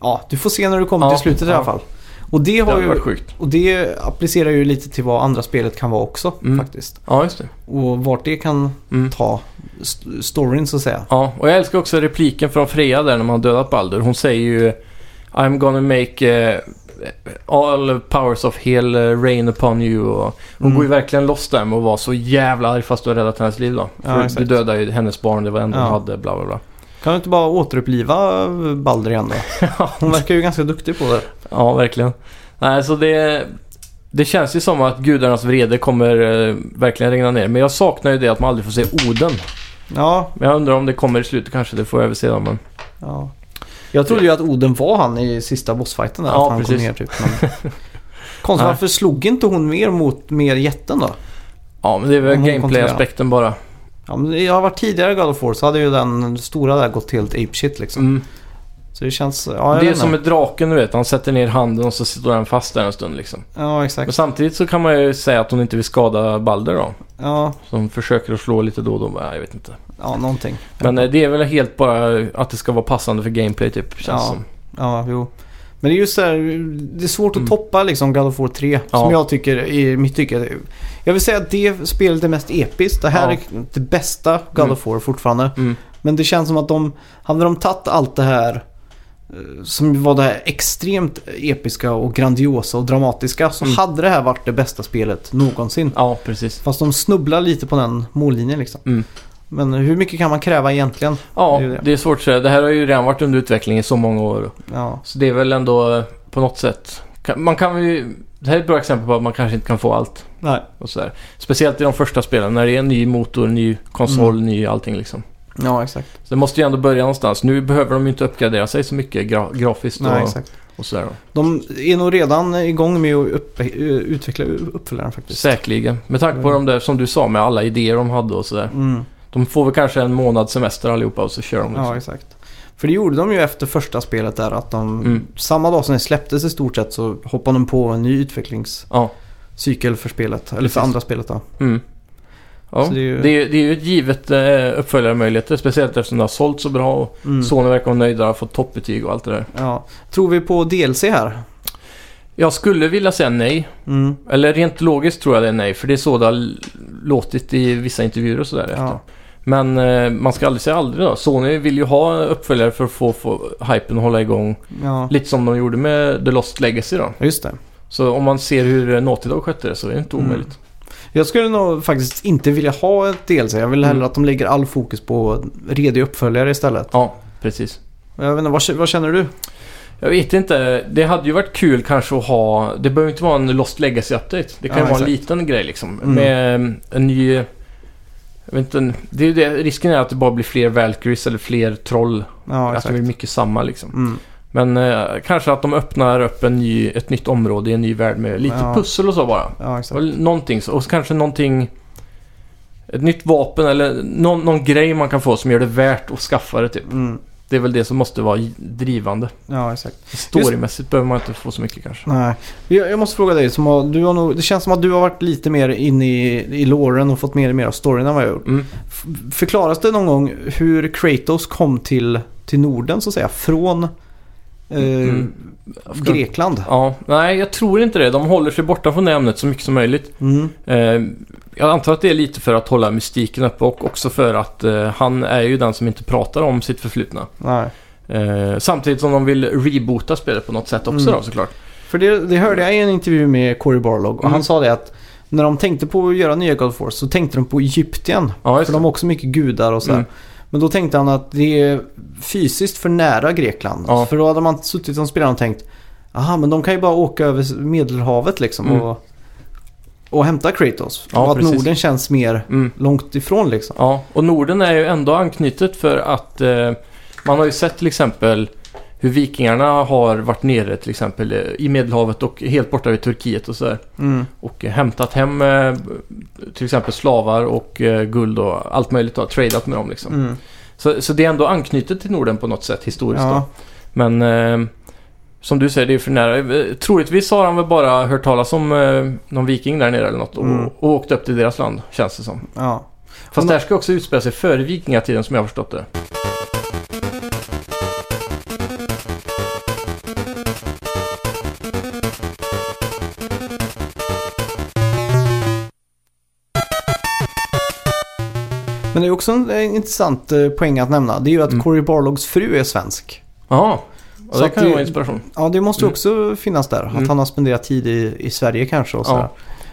Ja, du får se när du kommer
Ja,
till slutet i alla
ja.
fall. Och det,
Det
har
hade
ju,
varit sjukt.
och det applicerar ju lite till vad andra spelet kan vara också
Mm.
faktiskt.
Ja, just det.
Och vart det kan
Mm.
ta st- storyn så att säga.
Ja, och jag älskar också repliken från Freja där när man har dödat Baldur. Hon säger ju I'm gonna make eh, all powers of hell eh, rain upon you. Och hon
Mm.
går ju verkligen loss där med att vara så jävla arg fast du har räddat hennes liv då.
Ja,
För du
exakt.
dödade ju hennes barn, det var det enda
Ja.
hon hade, bla bla bla.
Kan du inte bara återuppliva eh, Balder igen då?
(laughs)
Hon verkar ju ganska duktig på det.
Ja, verkligen. Nej, så det, det känns ju som att gudarnas vrede kommer eh, verkligen regna ner. Men jag saknar ju det att man aldrig får se Oden.
Ja,
Men jag undrar om det kommer i slutet kanske, det får jag väl se då. Men...
ja. Jag trodde ju att Oden var han i sista bossfighten där.
Ja,
att han
precis.
kom ner typ. Men...
(laughs)
Konstigt,
Nej.
varför slog inte hon mer mot mer jätten då?
Ja, men det är väl
Om hon
gameplay-aspekten bara.
Ja, men jag har varit tidigare i God of War så hade ju den stora där gått helt apeshit liksom.
Mm.
Så det känns... Ja, jag
det är
vet
som
inte.
med draken, du vet. Han sätter ner handen och så står den fast där en stund liksom.
Ja,
Men
exakt.
samtidigt så kan man ju säga att hon inte vill skada Balder då.
Ja,
Som försöker att slå lite då och då. Nej, Jag vet inte.
ja någonting.
Men eh, det är väl helt bara att det ska vara passande för gameplay typ, känns
Ja.
som.
Ja, jo. Men det är just det här, det är svårt att
Mm.
toppa liksom God of War 3.
Ja.
Som jag tycker, i mitt tycke. Jag vill säga att det spelet är mest episkt. Det här
Ja.
är det bästa God
Mm.
of War fortfarande.
Mm.
Men det känns som att de, hade de tagit allt det här eh, som var det här extremt episka och grandiosa och dramatiska så
Mm.
hade det här varit det bästa spelet någonsin.
Ja, precis.
Fast de snubblar lite på den mållinjen liksom.
Mm.
Men hur mycket kan man kräva egentligen?
Ja,
Det är ju det.
det är svårt att säga. Det här har ju redan varit under utveckling i så många år.
Ja,
Så det är väl ändå eh, på något sätt. kan- Man kan ju... Det här är ett bra exempel på att man kanske inte kan få allt.
nej.
Och sådär. Speciellt i de första spelen när det är en ny motor, ny konsol,
Mm.
ny allting liksom.
Ja, exakt.
Så det måste ju ändå börja någonstans. Nu behöver de ju inte uppgradera sig så mycket gra- grafiskt och,
Nej, exakt.
och sådär. Då.
De är nog redan igång med att upp, utveckla uppföljaren faktiskt.
Säkerligen. Med tanke på de där som du sa med alla idéer de hade och sådär.
Mm.
De får väl kanske en månad semester allihopa och så kör de. Liksom.
Ja, exakt. För det gjorde de ju efter första spelet där att de
Mm.
samma dag som det släpptes i stort sett så hoppade de på en ny utvecklings...
Ja.
cykel för spelet. Eller för
Precis.
andra spelet då.
Mm. Ja,
Så
det
det är
är ju,
ju-
det är, ju ett givet eh, uppföljarmöjligheter. Speciellt eftersom det har sålt så bra och
Mm.
Sony verkar vara nöjda, har fått toppbetyg och allt det där.
Ja. Tror vi på DLC här?
Jag skulle vilja säga nej.
Mm.
Eller rent logiskt tror jag det är nej, för det är så det har l- låtit i vissa intervjuer och sådär efter.
Ja.
Men eh, man ska aldrig säga aldrig då. Sony vill ju ha uppföljare för att få, få hypen att hålla igång.
ja.
Lite som de gjorde med The Lost Legacy då.
Just det.
Så om man ser hur eh, Naughty Dog skötte det så är det inte
Mm.
omöjligt.
Jag skulle nog faktiskt inte vilja ha ett DLC. Jag vill hellre
Mm.
att de lägger all fokus på redig uppföljare istället.
Ja, precis.
Jag vet inte, vad, vad känner du?
Jag vet inte. Det hade ju varit kul kanske att ha... Det behöver inte vara en Lost Legacy-update. Det kan
Ja,
ju vara en
exakt.
liten grej liksom.
Mm.
Med eh, en ny... Jag vet inte, en- det är ju det. Risken är att det bara blir fler Valkyries eller fler troll.
Ja,
att det
exakt.
blir mycket samma liksom.
Mm.
Men eh, kanske att de öppnar upp en ny, ett nytt område i en ny värld med lite
Ja.
pussel och så bara.
Ja, exakt.
Och någonting så. Och så kanske någonting... Ett nytt vapen eller någon, någon grej man kan få som gör det värt att skaffa det typ.
Mm.
Det är väl det som måste vara drivande.
Ja, exakt.
Storymässigt behöver man inte få så mycket kanske.
Nej. Jag, jag måste fråga dig, som har, du har nog, det känns som att du har varit lite mer inne i, i låren och fått mer och mer av storyn än vad jag gjort.
Mm.
F- förklaras det någon gång hur Kratos kom till, till Norden så att säga? Från eh,
Mm.
Grekland?
Ja, nej jag tror inte det. De håller sig borta från det ämnet så mycket som möjligt.
Mm.
Eh, jag antar att det är lite för att hålla mystiken uppe och också för att eh, han är ju den som inte pratar om sitt förflutna.
Nej.
Eh, samtidigt som de vill reboota spelet på något sätt också
Mm.
då såklart.
För det, det hörde jag i en intervju med Cory Barlog och
Mm.
han sa det att när de tänkte på att göra nya God of War så tänkte de på Egypten.
Ja, just
För de
det.
har också mycket gudar och sådär.
Mm.
Men då tänkte han att det är fysiskt för nära Grekland.
Ja.
För då hade man suttit som spelare och tänkt Aha, men de kan ju bara åka över Medelhavet liksom
Mm.
och, och hämta Kratos.
Ja,
och att
precis.
Norden känns mer
Mm.
långt ifrån liksom.
Ja, och Norden är ju ändå anknutet för att eh, man har ju sett till exempel hur vikingarna har varit nere till exempel eh, i Medelhavet och helt borta vid Turkiet och sådär.
Mm.
Och eh, hämtat hem eh, till exempel slavar och eh, guld och allt möjligt och tradeat med dem liksom.
Mm.
Så, så det är ändå anknutet till Norden på något sätt historiskt då.
Ja.
Men eh, som du säger, det är för nära. Eh, Troligtvis har han väl bara hört talas om eh, någon viking där nere eller något och,
Mm.
och åkt upp till deras land, känns det som.
Ja.
Fast det här ska också utspela sig före vikingatiden som jag har förstått det.
Men det är också en, en intressant eh, poäng att nämna. Det är ju att
Mm.
Cory Barlogs fru är svensk.
Jaha, och
Så
det
att
kan ju
det-
vara inspiration.
Ja, det måste ju
Mm.
också finnas där. Att
Mm.
han har spenderat tid i, i Sverige kanske och
Ja.
sådär.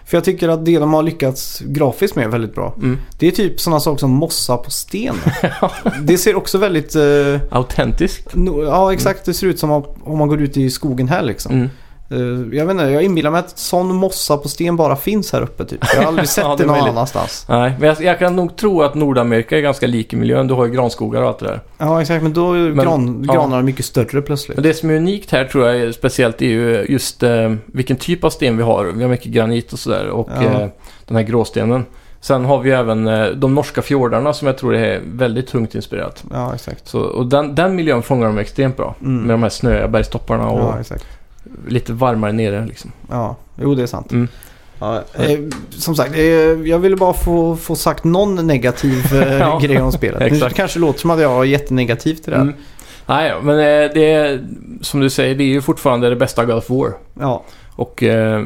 För jag tycker att det de har lyckats grafiskt med är väldigt bra.
Mm.
Det är typ sådana saker som mossa på
(laughs)
sten. det ser också väldigt... eh,
Autentiskt.
no, ja, exakt. Det ser ut som om om man går ut i skogen här liksom.
Mm.
Eh, jag vet inte, jag inbillar mig att sån mossa på sten bara finns här uppe typ. Jag har
(laughs)
aldrig sett
Ja, det
det
är
någon
möjligt.
annanstans.
Nej, men jag, jag kan nog tro att Nordamerika är ganska lik i miljön. Du har ju granskogar och allt det där.
Ja, exakt. Men då är ju
Men-
gran,
ja.
granarna mycket större plötsligt.
Men det som är unikt här tror jag är speciellt är ju just eh, vilken typ av sten vi har. Vi har mycket granit och sådär och
Ja.
eh, den här gråstenen. Sen har vi ju även eh, de norska fjordarna som jag tror är väldigt tungt inspirerat.
Ja, exakt.
Så, och den, den miljön fångar de extremt bra.
Mm.
Med de här snöiga bergstopparna och
Ja, exakt.
lite varmare nere liksom.
Ja, jo det är sant.
Mm.
Ja, eh, som sagt, eh, jag ville bara få, få sagt någon negativ eh,
(laughs) Ja,
grej om spelet. Nu
exakt.
kanske låter som att jag är jättenegativ till det här.
Mm. Nej, men eh, det är, som du säger, det är ju fortfarande det bästa God of War.
Ja,
Och eh,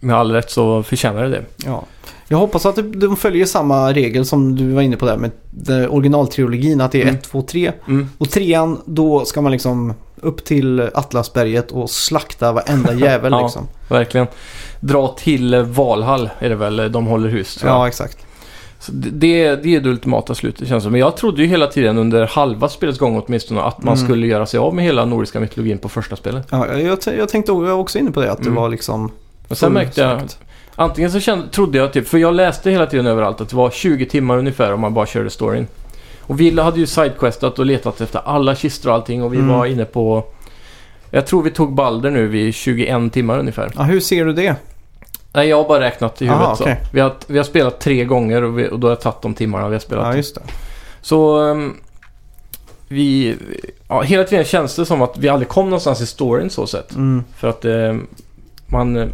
med all rätt så förtjänar det det.
ja. Jag hoppas att de- de följer samma regel som du var inne på där med den originaltrilogin. Att det är
Mm.
1, 2, 3.
Mm.
Och trean, då ska man liksom upp till Atlasberget och slakta
(laughs)
varenda jävel
Ja.
liksom.
Verkligen. Dra till eh, Valhall är det väl eh, de håller hus. tror jag.
Ja, exakt.
Så det, det, är- det är det ultimata slutet känns det som. Men jag trodde ju hela tiden under halva spelets gång åtminstone att man
Mm.
skulle göra sig av med hela nordiska mytologin på första spelet.
Ja, jag, t- jag tänkte jag var också inne på det, att det
Mm.
var liksom...
Men sen märkte jag,
fullslakt.
antingen så kände, trodde jag typ, för jag läste hela tiden överallt att det var 20 timmar ungefär om man bara körde storyn. Och Wille hade ju sidequestat och letat efter alla kistor och allting och vi
Mm.
var inne på... Jag tror vi tog Balder nu vid 21 timmar ungefär.
Ja, hur ser du det?
Nej, jag har bara räknat i huvudet
Aha, okej.
så. Vi har, vi har spelat tre gånger och, vi, och då har jag tagit de timmarna vi har spelat.
Ja, just det.
Så ehm, vi... Ja, hela tiden känns det som att vi aldrig kom någonstans i storyn så sett.
Mm.
För att eh, man... eh,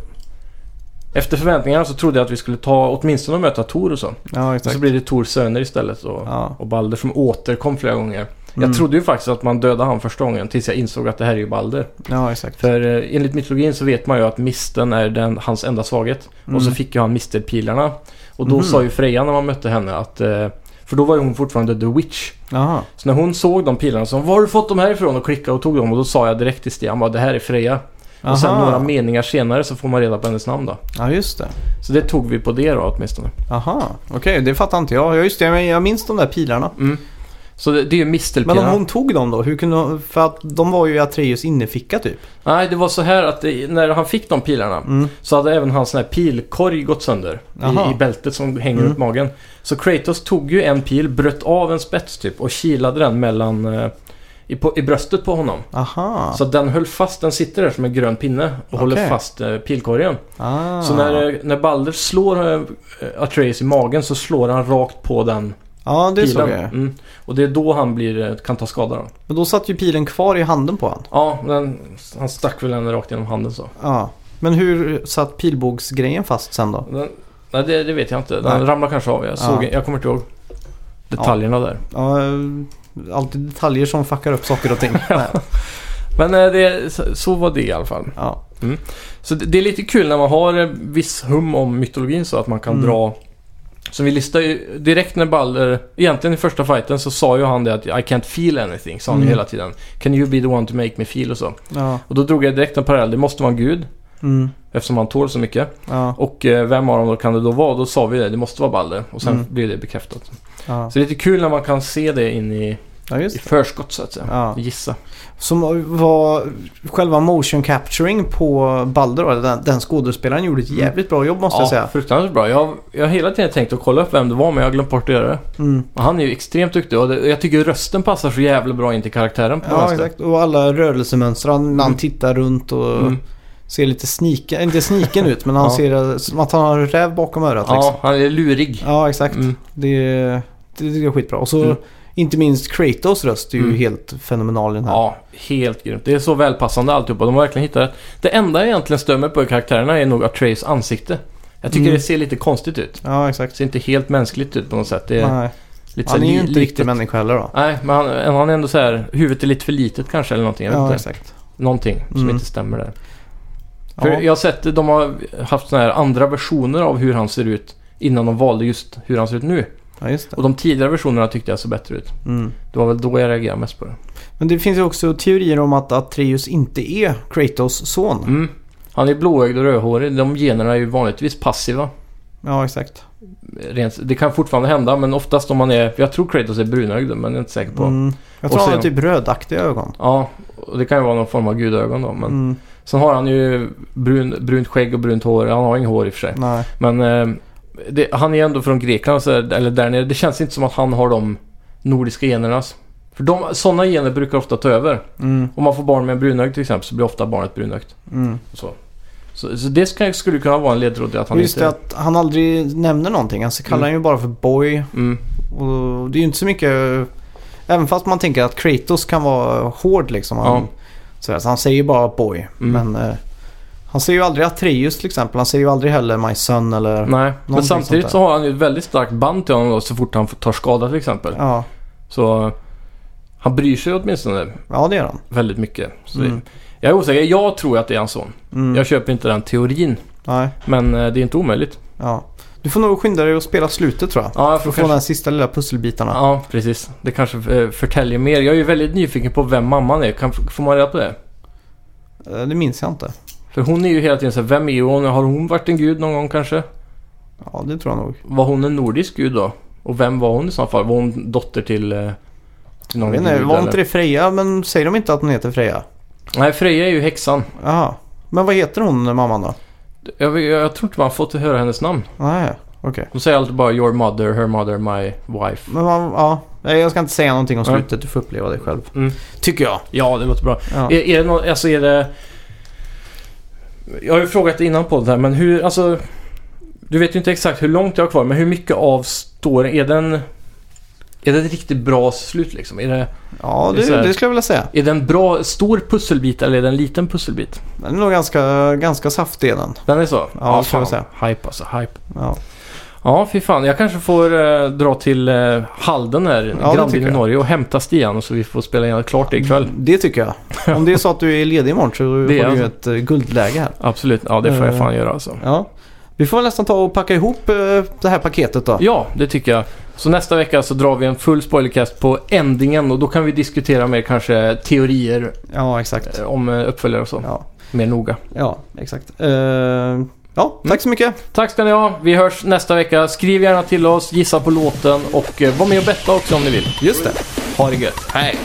Efter förväntningarna så trodde jag att vi skulle ta åtminstone möta Tor och så.
Ja,
Och
exakt.
så blir det Tors söner istället och,
Ja.
och Balder som återkom flera gånger.
Mm.
Jag trodde ju faktiskt att man dödade han första gången tills jag insåg att det här är ju Balder.
Ja, exakt.
För eh, enligt mytologin så vet man ju att misten är den, hans enda svaghet.
Mm.
Och så fick ju han misterpilarna. Och då
Mhm.
sa ju Freja när man mötte henne att... eh, För då var ju hon fortfarande The Witch.
Jaha.
Så när hon såg de pilarna så sa hon, Var har du fått dem härifrån? Och klickade och tog dem. Och då sa jag direkt till Stian bara, det här är Freja.
Aha.
Och sen några meningar senare så får man reda på hennes namn då.
Ja, just det.
Så det tog vi på det då åtminstone.
Aha, okej, det fattar inte jag. Ja, just det, men jag minns de där pilarna.
Så det, det är ju
Men om
mistelpilarna.
hon tog dem då? Hur kunde hon, för att de var ju i Atreus inneficka typ.
Nej, det var så här att det, när han fick de pilarna så hade även hans sån här pilkorg gått sönder
Mm. Jaha. Mm.
i, i bältet som hänger runt magen. Så Kratos tog ju en pil, bröt av en spets typ och kilade den mellan eh, i, på, i bröstet på honom.
Aha.
Så den höll fast, den sitter där som en grön pinne och håller fast eh, pilkorgen.
ah.
Så när, eh, när Balder slår eh, Atreus i magen så slår han rakt på den
ja, det
pilen.
såg jag.
Mm. Och det är då han blir, eh, kan ta skada då.
Men då satt ju pilen kvar i handen på han.
Ja, den, han stack väl den rakt genom handen så.
Ja. Men hur satt pilbågsgrejen fast sen då?
Den, nej, det, det vet jag inte. Den
Nej.
ramlar kanske av. Jag, såg,
Ja.
jag kommer inte ihåg detaljerna där.
Ja, eh, alltid detaljer som fuckar upp saker och
(laughs)
ting. Nej.
Men eh, det, så- så var det i alla fall.
ja.
Så det, det är lite kul när man har eh, viss hum om mytologin så att man kan
Mm.
dra... Så vi listade ju direkt när Balder... Egentligen i första fighten så sa ju han det att I can't feel anything, sa han ju
Mm.
hela tiden. Can you be the one to make me feel och så.
Ja.
Och då drog jag direkt en parallell. Det måste vara en gud
Mm.
eftersom han tål så mycket.
Ja.
Och eh, vem av dem då kan det då vara? Då sa vi det, det måste vara Balder. Och sen
Mm.
blev det bekräftat.
Ja.
Så det är lite kul när man kan se det in i
ja,
I
just det.
förskott så att säga.
Ja.
Gissa.
Som var själva motion capturing på Balder då, den, den skådespelaren gjorde ett
Mm.
jävligt bra jobb måste jag säga.
fruktansvärt bra. Jag, jag har hela tiden tänkt att kolla upp vem det var men jag har glömt bort att göra det.
Mm.
Och han är ju extremt duktig och det, jag tycker rösten passar så jävla bra in till karaktären på
Ja,
vänster.
exakt. Och alla rörelsemönster. Han, han tittar runt och
Mm.
ser lite sniken, inte sniken ut, men han
(laughs) Ja.
ser som att han har en räv bakom örat.
Ja,
Liksom.
han är lurig.
ja exakt.
Mm.
Det, det tycker jag är skitbra. Och så
Mm.
inte minst Kratos röst är ju
Mm.
helt fenomenal i den här.
Ja, helt grymt. Det är så välpassande alltihopa. De har verkligen hittat rätt. Det enda jag egentligen stömer på i karaktärerna är nog Atreys ansikte. Jag tycker
Mm.
det ser lite konstigt ut.
Ja,
Det
exakt.
ser inte helt mänskligt ut på något sätt. Det är
Nej.
lite så
Han
här
är ju
li-
inte
litet.
riktig människa heller då.
Nej, men han, han är ändå så här, huvudet är lite för litet kanske eller någonting. Jag vet
Ja,
inte.
exakt.
Någonting som
Mm.
inte stämmer där. För
Ja.
jag har sett att de har haft såna här andra versioner av hur han ser ut innan de valde just hur han ser ut nu.
ja, just det.
Och de tidigare versionerna tyckte jag såg bättre ut.
Mm.
Det var väl då jag reagerade mest på det.
Men det finns ju också teorier om att Atreus inte är Kratos son.
Mm. Han är blåögd och rödhårig. De generna är ju vanligtvis passiva.
Ja, exakt.
Rent, det kan fortfarande hända, men oftast om man är... Jag tror Kratos är brunögd, men jag är inte säker på.
Mm. Jag
Och
tror han
så-
har typ rödaktiga ögon.
Ja, och det kan ju vara någon form av gudögon då. Men...
Mm.
Sen har han ju brun, brunt skägg och brunt hår. Han har inget hår i och för sig.
Nej.
Men eh, det, han är ändå från Grekland, så, eller där nere. Det känns inte som att han har de nordiska generna. alltså. För de, sådana gener brukar ofta ta över.
Mm.
Om man får barn med en brunögd till exempel så blir ofta barnet brunögt.
Mm.
och Så. Så, så det ska, skulle kunna vara en ledtråd till att han
Och just
inte...
det att han aldrig nämner någonting. Alltså kallar
Mm.
han ju bara för boy.
Mm,
Och det är ju inte så mycket... Även fast man tänker att Kratos kan vara hård liksom. Han,
Ja.
sådär, så han säger ju bara boy.
Mm.
Men eh, han säger ju aldrig Atreus till exempel. Han säger ju aldrig heller my son eller...
nej, men
någonting
samtidigt
sånt
så har han ju ett väldigt starkt band till honom då, så fort han får- tar skada till exempel.
Ja.
Så eh, han bryr sig åtminstone
ja, det gör han.
väldigt mycket. Så
Mm.
det, jag är osäker. Jag tror att det är hans son.
Mm.
Jag köper inte den teorin.
Nej,
Men eh, det är inte omöjligt.
ja. Du får nog skynda dig att spela slutet tror jag.
Ja, jag
För
får
att få
kanske
de här sista lilla pusselbitarna.
Ja, precis. Det kanske eh, förtäljer mer. Jag är ju väldigt nyfiken på vem mamman är. Kan, får man reda på det?
Eh, Det minns jag inte.
För hon är ju hela tiden så här, vem är hon? Har hon varit en gud någon gång kanske?
Ja, det tror jag nog.
Var hon en nordisk gud då? Och vem var hon i så fall? Var hon dotter till, eh, till
Jag
någon
vet inte,
gud?
var
eller?
inte det Freja? Men säger de inte att hon heter Freja?
Nej, Freja är ju häxan.
Jaha. Men vad heter hon, mamman då?
Jag, jag, jag tror inte man fått höra hennes namn.
Nej, okej.
Hon säger alltid bara “Your mother, her mother, my wife”.
Men man, ja. Nej, Jag ska inte säga någonting om
Nej.
slutet. Du får uppleva det själv.
Mm.
Tycker jag.
Ja, det låter bra.
Ja.
Är, är det någon, alltså är det... Jag har ju frågat det innan på det här, men hur, alltså... Du vet ju inte exakt hur långt jag har kvar, men hur mycket av storyn, är den... Är det ett riktigt bra slut liksom? Är det,
Ja,
Det är så
det,
här-
det skulle jag vilja säga.
är det en bra, stor pusselbit eller är det en liten pusselbit?
Den är nog ganska, ganska saftig i den.
Den är så?
det kan man
Hype alltså, hype.
Ja.
Ja, fy fan. Jag kanske får eh, dra till eh, Halden här,
Ja, det
grannbyn
tycker
i
jag. Mm.
Norge, och hämta Stian så vi får spela igen klart det ikväll.
Det tycker jag. Om det är så att du är ledig imorgon så får
(laughs) Det är
du ju
jag.
ett eh, guldläge här.
Absolut. Ja, det får jag
Eh.
fan göra alltså.
Ja. Vi får väl nästan ta och packa ihop eh, det här paketet då.
Ja, det tycker jag. Så nästa vecka så drar vi en full spoilercast på endingen och då kan vi diskutera mer kanske teorier
Ja, exakt.
eh, om eh, uppföljare och så.
Ja,
Mer noga.
ja exakt. Eh, ja, tack så mycket.
Tack ska ni ha. Vi hörs nästa vecka. Skriv gärna till oss, gissa på låten och eh, var med och betta också om ni vill.
Just det.
Ha det gött. Hej!